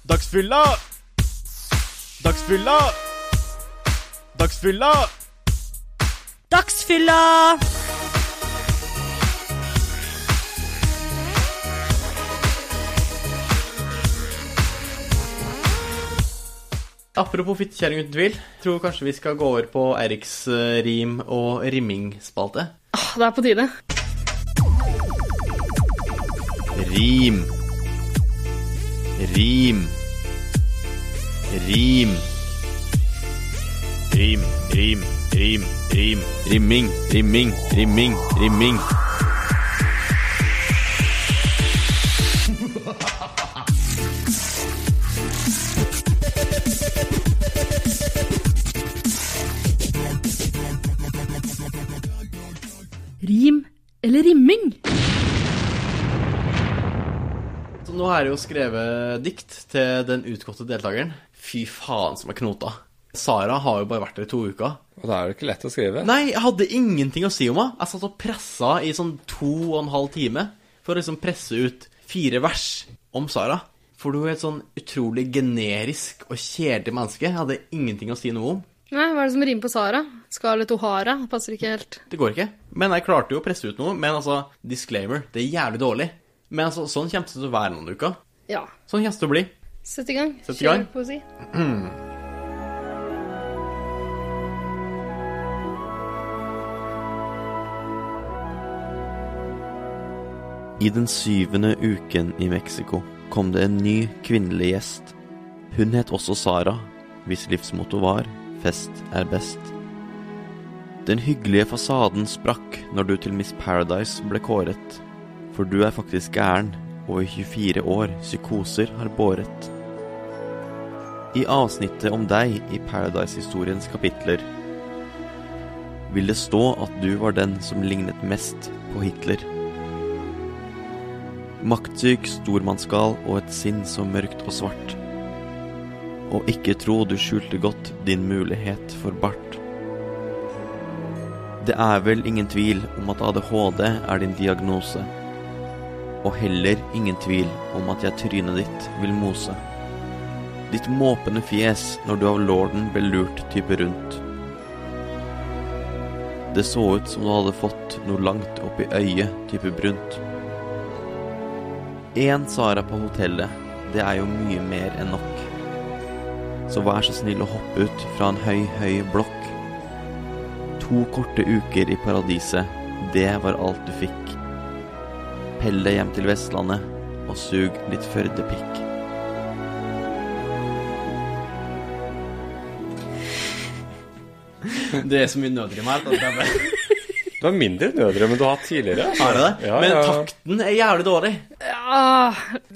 [SPEAKER 7] Dagsfylla! Dagsfylla! Dagsfylla!
[SPEAKER 8] Dagsfylla!
[SPEAKER 1] Apropos fittekjerring uten tvil, tror kanskje vi skal gå over på Eriks eh, rim- og rimming-spalte.
[SPEAKER 3] Åh, Det er på tide.
[SPEAKER 1] Rim. Rim. Rim. Rim, rim, rim, rim. Rimming, rimming, rimming, rimming.
[SPEAKER 3] Rim eller rimming?
[SPEAKER 1] Så nå har jeg jo skrevet dikt til den utgåtte deltakeren. Fy faen som er knota. Sara har jo bare vært der i to uker.
[SPEAKER 4] Og da er det ikke lett å skrive.
[SPEAKER 1] Nei, jeg hadde ingenting å si om henne. Jeg satt og pressa i sånn to og en halv time for å liksom presse ut fire vers om Sara. For hun er et sånn utrolig generisk og kjedelig menneske. Jeg hadde ingenting å si noe om.
[SPEAKER 3] Nei, hva er det som rimer på Sara? Scarlett O'Hara passer ikke helt.
[SPEAKER 1] Det går ikke. Men jeg klarte jo å presse ut noe. Men altså, disclaimer, det er jævlig dårlig. Men altså, sånn kommer det til å være noen uker.
[SPEAKER 3] Ja.
[SPEAKER 1] Sånn kommer det til å bli.
[SPEAKER 3] Sett i gang.
[SPEAKER 1] Sett i gang.
[SPEAKER 3] Kjør poesi.
[SPEAKER 1] I den syvende uken i Mexico kom det en ny kvinnelig gjest. Hun het også Sara, hvis livsmotto var 'Fest er best'. Den hyggelige fasaden sprakk når du til Miss Paradise ble kåret. For du er faktisk gæren, og i 24 år psykoser har båret. I avsnittet om deg i Paradise-historiens kapitler vil det stå at du var den som lignet mest på Hitler. Maktsyk, stormannsgal og et sinn så mørkt og svart. Og ikke tro du skjulte godt din mulighet for bart. Det er vel ingen tvil om at ADHD er din diagnose. Og heller ingen tvil om at jeg trynet ditt vil mose. Ditt måpende fjes når du av lorden ble lurt type rundt. Det så ut som du hadde fått noe langt opp i øyet type brunt. Én Sara på hotellet, det er jo mye mer enn nok. Så vær så snill å hoppe ut fra en høy, høy blokk. To korte uker i paradiset, det var alt du fikk. Pell deg hjem til Vestlandet og sug litt Førdepikk. Det er så mye nødrim her.
[SPEAKER 4] Det var mindre nødrøm enn du har hatt tidligere.
[SPEAKER 1] Er det det?
[SPEAKER 4] Ja,
[SPEAKER 1] Men
[SPEAKER 4] ja.
[SPEAKER 1] takten er jævlig dårlig.
[SPEAKER 3] Ja,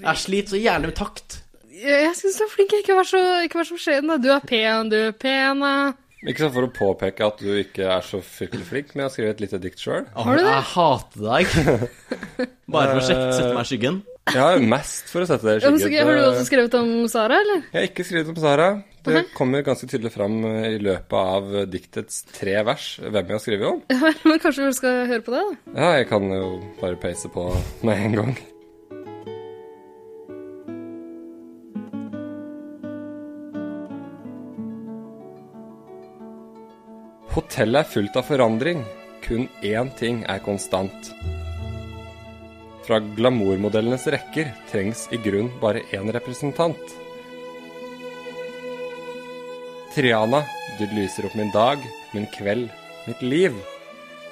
[SPEAKER 1] Jeg sliter så jævlig med takt.
[SPEAKER 3] jeg jeg syns du er flink. Ikke vær så, ikke vær så beskjeden. da. Du er pen, du er pen. da.
[SPEAKER 4] Ikke sant for å påpeke at du ikke er så fryktelig flink, men jeg har skrevet et lite dikt sjøl.
[SPEAKER 3] Har du det?
[SPEAKER 1] Jeg hater deg. <laughs> Bare for å sette, sette meg i skyggen.
[SPEAKER 4] Ja, mest for å sette det i
[SPEAKER 3] Ja, men så,
[SPEAKER 4] skyggen.
[SPEAKER 3] har du også skrevet om Sara, eller? <laughs>
[SPEAKER 4] Jeg har ikke skrevet om Sara. Det kommer ganske tydelig fram eh, i løpet av eh, diktets tre vers hvem jeg har skrevet om.
[SPEAKER 3] Ja, vel, men kanskje vi skal høre på det, da? <laughs>
[SPEAKER 4] Ja, jeg kan jo bare peise på med en gang. Hotellet er fullt av forandring. Kun én ting er konstant. Fra glamourmodellenes rekker trengs i grunn bare én representant. Triana, du lyser opp min dag, min kveld, mitt liv.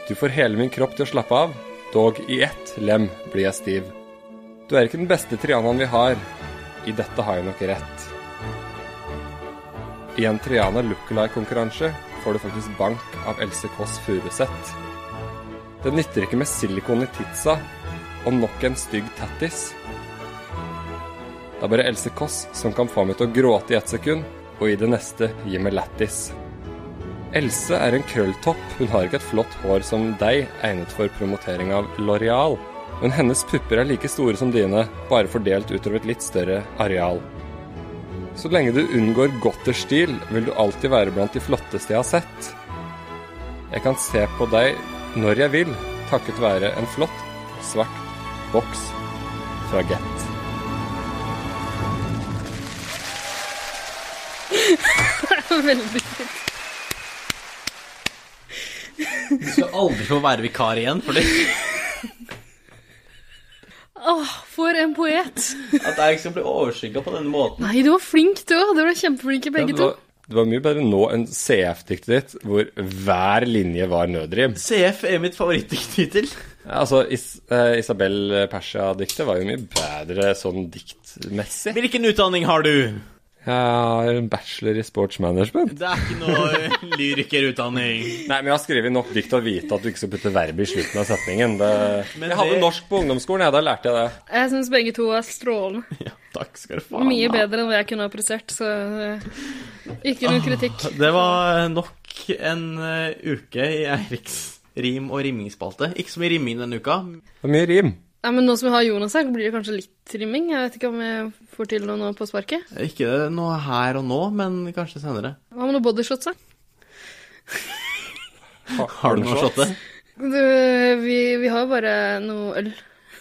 [SPEAKER 4] Du får hele min kropp til å slappe av, dog i ett lem blir jeg stiv. Du er ikke den beste Trianaen vi har. I dette har jeg nok rett. I en Triana lookalike-konkurranse får du faktisk bank av Else Kåss Furuseth. Det nytter ikke med silikon i titsa og nok en stygg tattis. Det er bare Else Kåss som kan få meg til å gråte i ett sekund, og i det neste gi meg lættis. Else er en krølltopp. Hun har ikke et flott hår som deg, egnet for promotering av Loreal. Men hennes pupper er like store som dine, bare fordelt utover et litt større areal. Så lenge du unngår gotterstil, vil du alltid være blant de flotteste jeg har sett. Jeg kan se på deg når jeg vil, takket være en flott, svart boks fra Get.
[SPEAKER 3] Veldig.
[SPEAKER 1] Du skal aldri få være vikar igjen, fordi
[SPEAKER 3] Åh, for en poet.
[SPEAKER 1] at jeg skal bli overskygga liksom på denne måten.
[SPEAKER 3] Nei, du var flink, du òg. Dere var kjempeflinke begge
[SPEAKER 4] Ja,
[SPEAKER 3] to.
[SPEAKER 4] det var- Det var mye bedre nå enn CF-diktet ditt, hvor hver linje var nødrim.
[SPEAKER 1] CF er mitt favorittdikttittel.
[SPEAKER 4] Altså, Is eh, Isabel Persia-diktet var jo mye bedre sånn diktmessig.
[SPEAKER 1] Hvilken utdanning har du?
[SPEAKER 4] Jeg har en bachelor i sports management.
[SPEAKER 1] Det er ikke noe lyrikerutdanning.
[SPEAKER 4] Nei, men jeg har skrevet nok dikt til å vite at du ikke skal putte verb i slutten av setningen. Det...
[SPEAKER 1] Men
[SPEAKER 4] Jeg hadde
[SPEAKER 1] det-
[SPEAKER 4] norsk på ungdomsskolen, ja, da lærte jeg det.
[SPEAKER 3] Jeg syns begge to er strålende.
[SPEAKER 1] <laughs> Ja, takk skal du faen
[SPEAKER 3] Mye
[SPEAKER 1] ha.
[SPEAKER 3] bedre enn hva jeg kunne ha prestert, så eh, ikke
[SPEAKER 4] Ah.
[SPEAKER 3] noe kritikk.
[SPEAKER 1] Det var nok en eh, uke i Eiriks rim- og rimingsspalte. Ikke så mye rimming denne uka.
[SPEAKER 4] Det var mye rim.
[SPEAKER 3] Nei, men nå som jeg har Jonas her, blir det kanskje litt rimming. Jeg vet ikke om jeg får til noe nå på sparket.
[SPEAKER 1] Ikke noe her og nå, men kanskje senere.
[SPEAKER 3] Hva med noen bodyshots, da?
[SPEAKER 1] <laughs> Har du noe shotte?
[SPEAKER 3] Du, vi, vi har jo bare noe øl.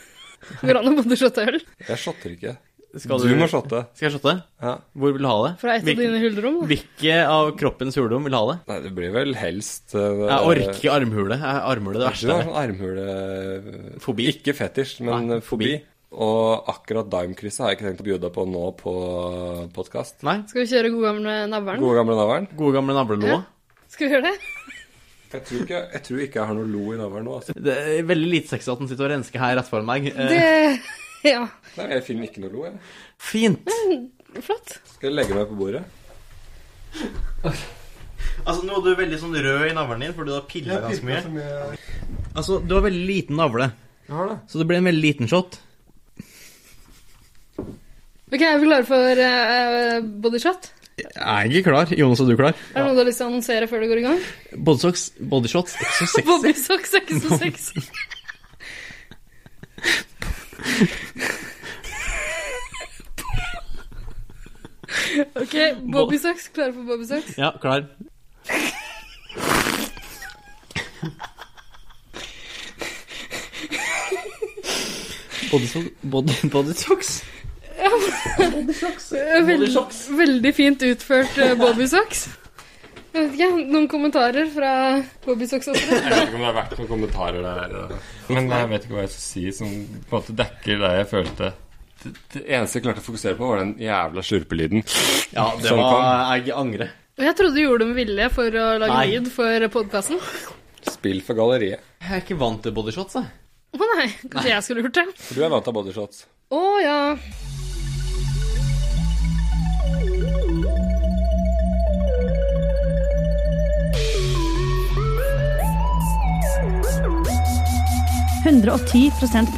[SPEAKER 3] <laughs> Går det an å bodyshotte øl
[SPEAKER 4] Jeg shotter ikke.
[SPEAKER 1] Skal
[SPEAKER 4] du... må shotte.
[SPEAKER 1] Skal jeg shotte?
[SPEAKER 4] Ja.
[SPEAKER 1] Hvor vil du ha det?
[SPEAKER 3] fra et av
[SPEAKER 1] Hvilke,
[SPEAKER 3] dine hulrom? da?
[SPEAKER 1] hvilke av kroppens hulrom vil ha det?
[SPEAKER 4] Nei, det blir vel helst eh,
[SPEAKER 1] Jeg orker ikke armhule. Jeg armhule det
[SPEAKER 4] Du har
[SPEAKER 1] verste.
[SPEAKER 4] sånn armhule...
[SPEAKER 1] Fobi.
[SPEAKER 4] Ikke fetisj, men
[SPEAKER 1] Nei,
[SPEAKER 4] fobi.
[SPEAKER 1] fobi.
[SPEAKER 4] Og akkurat daimkrysset har jeg ikke tenkt å bjuda på nå på podkast.
[SPEAKER 1] Nei.
[SPEAKER 3] Skal vi kjøre god gamle navlen?
[SPEAKER 4] Gode gamle navlen.
[SPEAKER 1] Gode gamle navlelo.
[SPEAKER 3] Skal vi gjøre det?
[SPEAKER 4] Jeg tror, ikke, jeg tror ikke jeg har noe lo i navlen nå. Altså.
[SPEAKER 1] Det er veldig lite sexy at den sitter og rensker her rett foran meg. Eh,
[SPEAKER 3] Det <laughs> Ja.
[SPEAKER 4] Nei, jeg finner ikke noe lo. Jeg.
[SPEAKER 1] Fint.
[SPEAKER 3] Flott.
[SPEAKER 4] Skal jeg legge meg på bordet?
[SPEAKER 1] Altså, nå er du veldig sånn rød i navlen din, fordi du har pilla ganske mye. Altså, du har veldig liten navle,
[SPEAKER 4] Jeg har det.
[SPEAKER 1] så det blir en veldig liten shot.
[SPEAKER 3] Ok, er vi klare for eh, bodyshot?
[SPEAKER 1] Jeg er ikke klar. Jonas, er du klar?
[SPEAKER 3] Er det noe du har lyst til å annonsere før du går i gang?
[SPEAKER 1] Bodysocks, bodyshots, ikke så
[SPEAKER 4] <laughs>
[SPEAKER 1] sexy.
[SPEAKER 3] Bodysocks er ikke så sexy. Ok, bobbysocks. Klare for bobbysocks?
[SPEAKER 1] Ja, klar. Bodysocks body, Bodysocks?
[SPEAKER 3] Veldig, Eh, veldig fint utført eh, bobbysocks. Jeg vet ikke, Noen kommentarer fra bobbysocks-ofre?
[SPEAKER 4] Jeg vet ikke om det har vært noen kommentarer der. Men jeg vet ikke hva jeg skal si som på en måte dekker det jeg følte. Det, det eneste jeg klarte å fokusere på, var den jævla slurpelyden.
[SPEAKER 1] Ja, det
[SPEAKER 4] Sånn
[SPEAKER 1] var Jeg angrer.
[SPEAKER 3] Jeg trodde du gjorde dem vilje for å lage
[SPEAKER 1] Nei.
[SPEAKER 3] lyd for podkasten.
[SPEAKER 4] Spill for galleriet.
[SPEAKER 1] Jeg er ikke vant til bodyshots, jeg.
[SPEAKER 3] Å nei, kanskje jeg skulle gjort det.
[SPEAKER 4] For du er vant til bodyshots.
[SPEAKER 3] Å ja.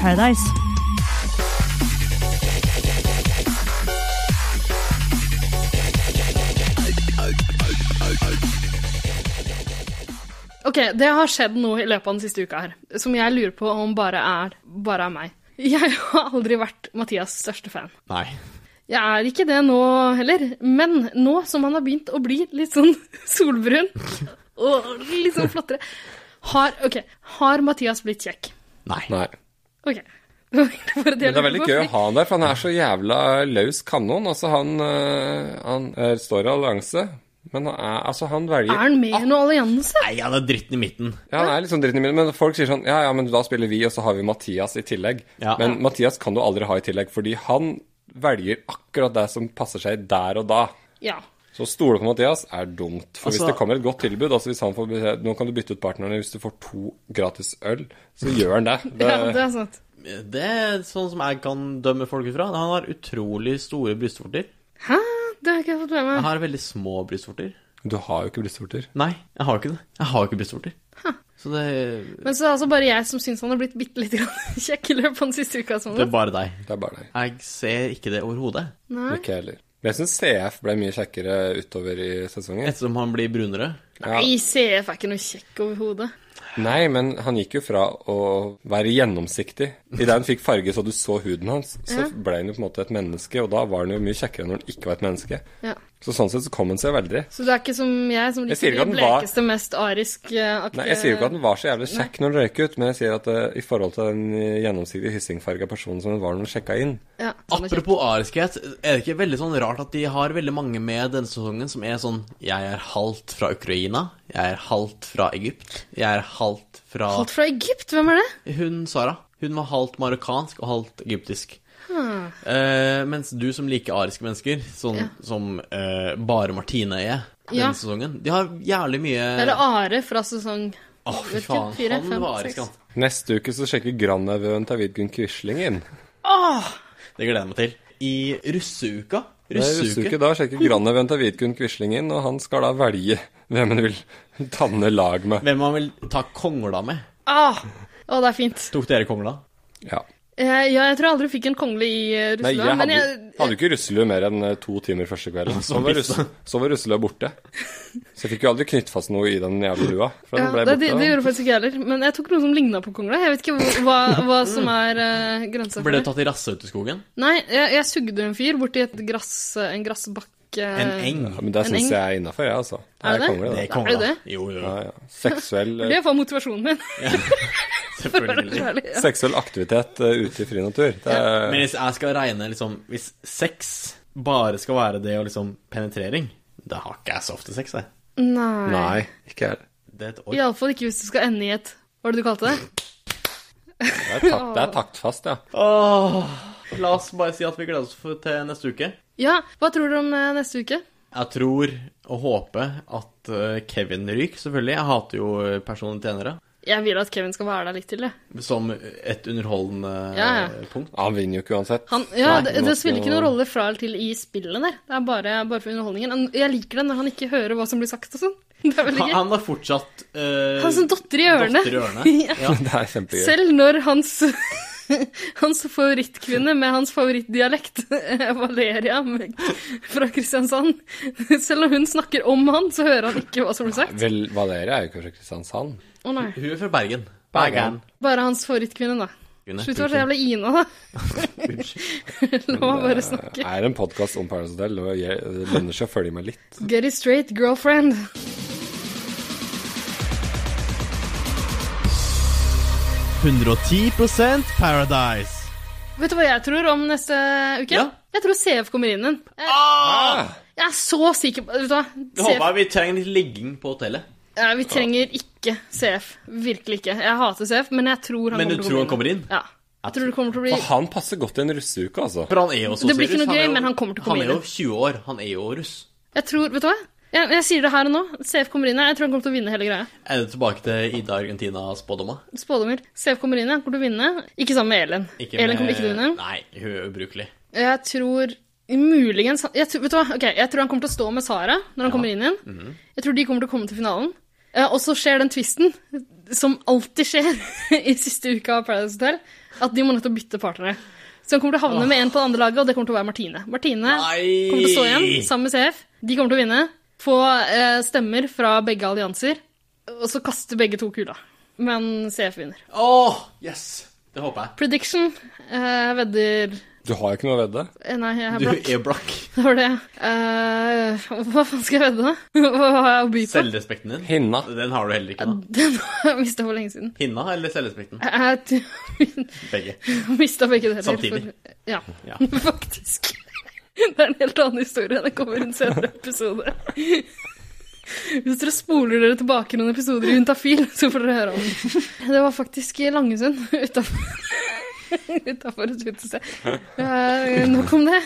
[SPEAKER 8] Paradise.
[SPEAKER 3] Ok, det har skjedd noe i løpet av den siste uka her, som jeg lurer på om bare er, bare er meg. Jeg har aldri vært Mathias' største fan.
[SPEAKER 1] Nei.
[SPEAKER 3] Jeg er ikke det nå heller, men nå som han har begynt å bli litt sånn <laughs> solbrun og litt sånn flottere, har, ok, har Mathias blitt kjekk?
[SPEAKER 1] Nei.
[SPEAKER 4] Nei.
[SPEAKER 3] Ok. Det var egentlig bare
[SPEAKER 4] Men
[SPEAKER 3] jeg
[SPEAKER 4] det er
[SPEAKER 3] lurte
[SPEAKER 4] veldig
[SPEAKER 3] på,
[SPEAKER 4] gøy å
[SPEAKER 3] fordi-
[SPEAKER 4] ha han der, for han er så jævla løs kanon. Altså, han, øh, han øh, står i allianse, men han, er, altså, han velger
[SPEAKER 3] Er han med i noen allianse?
[SPEAKER 1] Nei, han er dritten i midten.
[SPEAKER 4] Ja, han er litt sånn dritt i midten, men folk sier sånn Ja, ja, men da spiller vi, og så har vi Mathias i tillegg.
[SPEAKER 1] Ja.
[SPEAKER 4] Men Mathias kan du aldri ha i tillegg, fordi han velger akkurat det som passer seg der og da.
[SPEAKER 3] Ja.
[SPEAKER 4] Så å stole på Mathias er dumt. For
[SPEAKER 1] Altså-
[SPEAKER 4] hvis det kommer et godt tilbud, altså hvis han får beskjed Nå kan du bytte ut partneren hvis du får to gratis øl, så gjør han det.
[SPEAKER 3] <laughs>
[SPEAKER 4] det,
[SPEAKER 3] ja, det er sant.
[SPEAKER 1] Det er sånn som jeg kan dømme folk ut fra. Han har utrolig store brystvorter.
[SPEAKER 3] Hæ? Det har ikke jeg fått med
[SPEAKER 1] Jeg
[SPEAKER 3] meg.
[SPEAKER 1] har veldig små brystvorter.
[SPEAKER 4] Du har jo ikke brystvorter.
[SPEAKER 1] Nei, jeg har ikke det. Jeg har ikke brystvorter. Så det,
[SPEAKER 3] Men så er det altså bare jeg som syns han har blitt bitte litt grann <laughs> kjekk i løpet av den siste uka. Sånn.
[SPEAKER 1] det er bare deg.
[SPEAKER 4] Det er bare deg.
[SPEAKER 1] Jeg ser ikke det overhodet.
[SPEAKER 3] Nei.
[SPEAKER 4] Ikke jeg heller. Men jeg syns CF ble mye kjekkere utover i sesongen.
[SPEAKER 1] Ettersom han blir brunere.
[SPEAKER 4] Ja.
[SPEAKER 3] Nei, CF er ikke noe kjekk overhodet.
[SPEAKER 4] Nei, men han gikk jo fra å være gjennomsiktig Idet han fikk farge så du så huden hans, så ble han jo på en måte et menneske, og da var han jo mye kjekkere enn når han ikke var et menneske.
[SPEAKER 3] Ja.
[SPEAKER 4] Så sånn sett så kom han seg veldig.
[SPEAKER 3] Så du er ikke som jeg, som
[SPEAKER 4] Jeg sier
[SPEAKER 3] liker de
[SPEAKER 4] ikke at den var-
[SPEAKER 3] blekeste, mest eh, arisk-aktige
[SPEAKER 4] Nei, jeg sier jo ikke at han var så jævlig kjekk når han røyk ut, men jeg sier at eh, i forhold til den gjennomsiktige hyssingfarga personen som han var når han sjekka inn
[SPEAKER 3] ja, sånn er kjekk.
[SPEAKER 1] Apropos ariskhet, er det ikke veldig sånn rart at de har veldig mange med denne sesongen som er sånn Jeg er halvt fra Ukraina. Jeg er halvt fra Egypt. Jeg er halvt fra
[SPEAKER 3] Alt fra Egypt, hvem er det?
[SPEAKER 1] Hun Sara. Hun var halvt marokkansk og halvt egyptisk. Eh, mens du som liker ariske mennesker, sånn som eh, bare Martine er,
[SPEAKER 3] Ja.
[SPEAKER 7] denne sesongen. De har jævlig mye
[SPEAKER 3] Det er det Are fra sesong
[SPEAKER 7] Å, fy
[SPEAKER 3] vet ikke,
[SPEAKER 7] faen.
[SPEAKER 3] fire,
[SPEAKER 7] Han
[SPEAKER 3] fem,
[SPEAKER 7] var
[SPEAKER 3] seks.
[SPEAKER 7] arisk, han.
[SPEAKER 4] Neste uke så sjekker Grandhauvøen Tavidgun Quisling inn.
[SPEAKER 7] Det gleder jeg meg til. I russeuka
[SPEAKER 4] Det er Russeuke,
[SPEAKER 7] Russeuke.
[SPEAKER 4] da sjekker Grandhauvøen Tavidgun Quisling inn, og han skal da velge hvem han vil danne lag med.
[SPEAKER 7] Hvem man vil ta kongla med.
[SPEAKER 3] Ah! Å, det er fint.
[SPEAKER 7] Tok dere kongla?
[SPEAKER 4] Ja.
[SPEAKER 3] Eh, ja, jeg tror jeg aldri fikk en kongle i eh,
[SPEAKER 4] Nei, jeg
[SPEAKER 3] Russland,
[SPEAKER 4] hadde,
[SPEAKER 3] men jeg
[SPEAKER 4] hadde jo ikke russelue mer enn eh, to timer første <laughs> kvelden. Så var, russ,
[SPEAKER 7] pissa.
[SPEAKER 4] så var russelua borte. Så jeg fikk jo aldri knytt fast noe i den jævla lua. For den
[SPEAKER 3] ja,
[SPEAKER 4] ble
[SPEAKER 3] det, det,
[SPEAKER 4] borte.
[SPEAKER 3] det
[SPEAKER 4] da.
[SPEAKER 3] gjorde faktisk ikke jeg heller. Men jeg tok noe som ligna på kongle. Jeg vet ikke hva, hva- hva som er eh, grensa for
[SPEAKER 7] Ble
[SPEAKER 3] det.
[SPEAKER 7] du tatt i Rassauteskogen?
[SPEAKER 3] Nei, jeg, jeg sugde en fyr borti et grass, en grassbakke
[SPEAKER 7] En eng?
[SPEAKER 4] Ja, men det
[SPEAKER 3] En
[SPEAKER 4] syns
[SPEAKER 3] eng.
[SPEAKER 4] jeg er innafor, jeg, altså.
[SPEAKER 3] Er det det?
[SPEAKER 4] konge,
[SPEAKER 7] Det er
[SPEAKER 3] Er det
[SPEAKER 7] kongla.
[SPEAKER 3] det?
[SPEAKER 7] Jo, jo,
[SPEAKER 4] Ja, ja. Seksuell,
[SPEAKER 3] <laughs> Det er faen motivasjonen min. for å være
[SPEAKER 7] selvfølgelig.
[SPEAKER 3] helt ærlig. Ja.
[SPEAKER 4] eh, seksuell aktivitet eh, ute i fri natur. Det er,
[SPEAKER 7] Men hvis jeg skal regne liksom Hvis sex bare skal være det og liksom penetrering, da har ikke jeg så ofte sex, jeg.
[SPEAKER 3] Nei.
[SPEAKER 4] Nei, ikke jeg.
[SPEAKER 7] Det er et år.
[SPEAKER 3] Iallfall ikke hvis du skal ende i et Hva var det du kalte det?
[SPEAKER 4] Det er, takt, det er taktfast, ja.
[SPEAKER 7] Åh, la oss bare si at vi gleder oss for, til neste uke.
[SPEAKER 3] Ja, hva tror dere om eh, neste uke?
[SPEAKER 7] Jeg tror og håper at eh, Kevin ryker, selvfølgelig. Jeg hater jo eh, personlige tjenere
[SPEAKER 3] Jeg vil at Kevin skal være der litt til, jeg.
[SPEAKER 7] som et underholdende
[SPEAKER 3] Ja, ja.
[SPEAKER 7] eh, punkt.
[SPEAKER 4] Han vinner jo ikke uansett.
[SPEAKER 3] Han, ja,
[SPEAKER 4] Nei,
[SPEAKER 3] det,
[SPEAKER 4] nå
[SPEAKER 3] det
[SPEAKER 4] skal-
[SPEAKER 3] spiller ikke noen rolle fra eller til i spillet der. Det er bare, bare for underholdningen. Han- Jeg liker det når han ikke hører hva som blir sagt og sånn. <laughs> Det er veldig
[SPEAKER 7] Han,
[SPEAKER 3] gøy.
[SPEAKER 7] han har fortsatt eh,
[SPEAKER 3] Han sånn som dotter i ørene.
[SPEAKER 7] dotter i ørene.
[SPEAKER 3] <laughs> Ja.
[SPEAKER 7] Ja.
[SPEAKER 4] <laughs> Det er kjempegøy.
[SPEAKER 3] Selv når hans, <laughs> hans favorittkvinne med hans favorittdialekt, eh, Valeria med- fra Kristiansand Selv når hun snakker om han, så hører han ikke hva som blir sagt.
[SPEAKER 4] Vel, Valeria er jo ikke fra Kristiansand.
[SPEAKER 3] Å nei.
[SPEAKER 7] Hun er fra Bergen.
[SPEAKER 4] Bergen.
[SPEAKER 3] Bare hans favorittkvinne, da.
[SPEAKER 7] Bergen.
[SPEAKER 3] Slutt å være så jævla Ina, da. <laughs> La meg bare
[SPEAKER 4] Det
[SPEAKER 3] snakke.
[SPEAKER 4] er en podkast om Paradise Hotel, og jeg- det lønner seg å følge med litt.
[SPEAKER 3] Get it straight, girlfriend.
[SPEAKER 9] Paradise.
[SPEAKER 3] Vet du hva jeg tror om neste uke?
[SPEAKER 7] Ja.
[SPEAKER 3] Jeg tror CF kommer inn igjen. Jeg, jeg er så sikker på Vet du hva?
[SPEAKER 7] Jeg
[SPEAKER 3] CF,
[SPEAKER 7] Håper vi trenger litt ligging på hotellet.
[SPEAKER 3] ja, vi trenger ikke CF. Virkelig ikke. Jeg hater CF, men jeg tror han
[SPEAKER 7] Men du
[SPEAKER 3] kommer til å
[SPEAKER 7] tror han
[SPEAKER 3] komme
[SPEAKER 7] kommer inn?
[SPEAKER 3] Ja. Jeg tror det kommer til å bli
[SPEAKER 4] Og han passer godt i en russeuke, altså.
[SPEAKER 7] For han er jo så
[SPEAKER 3] Det blir ikke
[SPEAKER 7] seriøs.
[SPEAKER 3] noe
[SPEAKER 7] er
[SPEAKER 3] gøy,
[SPEAKER 7] jo-
[SPEAKER 3] men han kommer til å komme
[SPEAKER 7] Han er
[SPEAKER 3] inn.
[SPEAKER 7] jo 20 år. Han er jo russ.
[SPEAKER 3] Jeg tror Vet du hva? Jeg, jeg sier det her og nå. CF kommer inn igjen. Jeg tror han kommer til å vinne hele greia.
[SPEAKER 7] Er det tilbake til Ida Argentina-spådomma?
[SPEAKER 3] Spådommer. CF kommer inn igjen. Kommer til å vinne. Ikke sammen med Elin. Elin kommer ikke til å vinne.
[SPEAKER 7] Nei, hun er ubrukelig.
[SPEAKER 3] Jeg tror muligens jeg, tror- Vet du hva? Ok, jeg tror han kommer til å stå med Sara når han kommer inn igjen.
[SPEAKER 7] Mhm.
[SPEAKER 3] Jeg tror de kommer til å komme til finalen. Eh, og så skjer den twisten, som alltid skjer <laughs> i siste uka av Paradise Hotel, at de må nødt til å bytte partnere. Så han kommer til å havne med en på det andre laget, og det kommer til å være Martine. Martine
[SPEAKER 7] Nei!
[SPEAKER 3] kommer til å stå igjen sammen med CF. De kommer til å vinne. Få eh, stemmer fra begge allianser, og så kaster begge to kula. Men CF vinner.
[SPEAKER 7] Åh, yes! Det håper jeg.
[SPEAKER 3] Prediction eh, vedder
[SPEAKER 4] Du har jo ikke noe å vedde.
[SPEAKER 3] eh, Nei, jeg er
[SPEAKER 7] Du
[SPEAKER 3] blakk.
[SPEAKER 7] er blakk.
[SPEAKER 3] Det var det. Eh, hva faen skal jeg vedde, da? <laughs> Hva har jeg å by på?
[SPEAKER 7] Selvrespekten din?
[SPEAKER 4] Hinna.
[SPEAKER 7] Den har du heller ikke, da.
[SPEAKER 3] Den har jeg mista for lenge siden.
[SPEAKER 7] Hinna eller selvrespekten?
[SPEAKER 3] <laughs> Jeg
[SPEAKER 7] Begge.
[SPEAKER 3] mista begge deler.
[SPEAKER 7] Samtidig.
[SPEAKER 3] For, ja,
[SPEAKER 7] Ja.
[SPEAKER 3] <laughs> faktisk. Det er en helt annen historie. Det kommer i en
[SPEAKER 7] <laughs>
[SPEAKER 3] senere episode. Hvis dere spoler dere tilbake noen episoder i Juntafil, <laughs> så får dere høre om den. Det var faktisk i Langesund, <laughs> utafor <laughs> et lite sted. Eh, nok om det.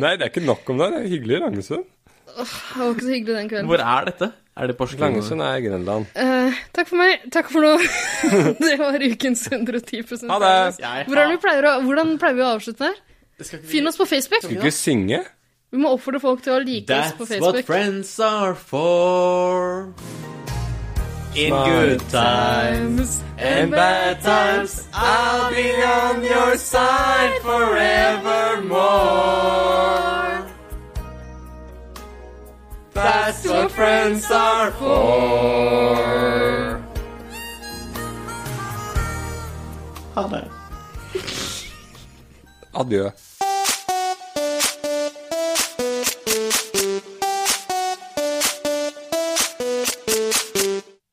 [SPEAKER 4] Nei, det er ikke nok om det. Det er hyggelig i Langesund.
[SPEAKER 3] Det var ikke så hyggelig den kvelden.
[SPEAKER 7] Hvor er dette? Er det Porsgrunn?
[SPEAKER 4] Langesund er Grenland.
[SPEAKER 3] Eh, takk for meg. Takk for nå. <laughs> det var ukens 110
[SPEAKER 4] Ha det.
[SPEAKER 7] Jeg-
[SPEAKER 3] Hvordan, vi pleier å, hvordan pleier vi å avslutte her?
[SPEAKER 7] Det skal ikke bli-
[SPEAKER 3] Finn oss på Facebook.
[SPEAKER 4] Skal du ikke synge?
[SPEAKER 3] Vi må oppfordre folk til å like oss på
[SPEAKER 7] That's what
[SPEAKER 3] Facebook.
[SPEAKER 7] friends are for. In good times and bad times, I'll be on your side forevermore. That's what friends are for. Ha det.
[SPEAKER 4] Adjø.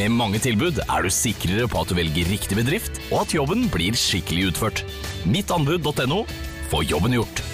[SPEAKER 10] Med mange tilbud er du sikrere på at du velger riktig bedrift, og at jobben blir skikkelig utført. Mittanbud.no. Få jobben gjort.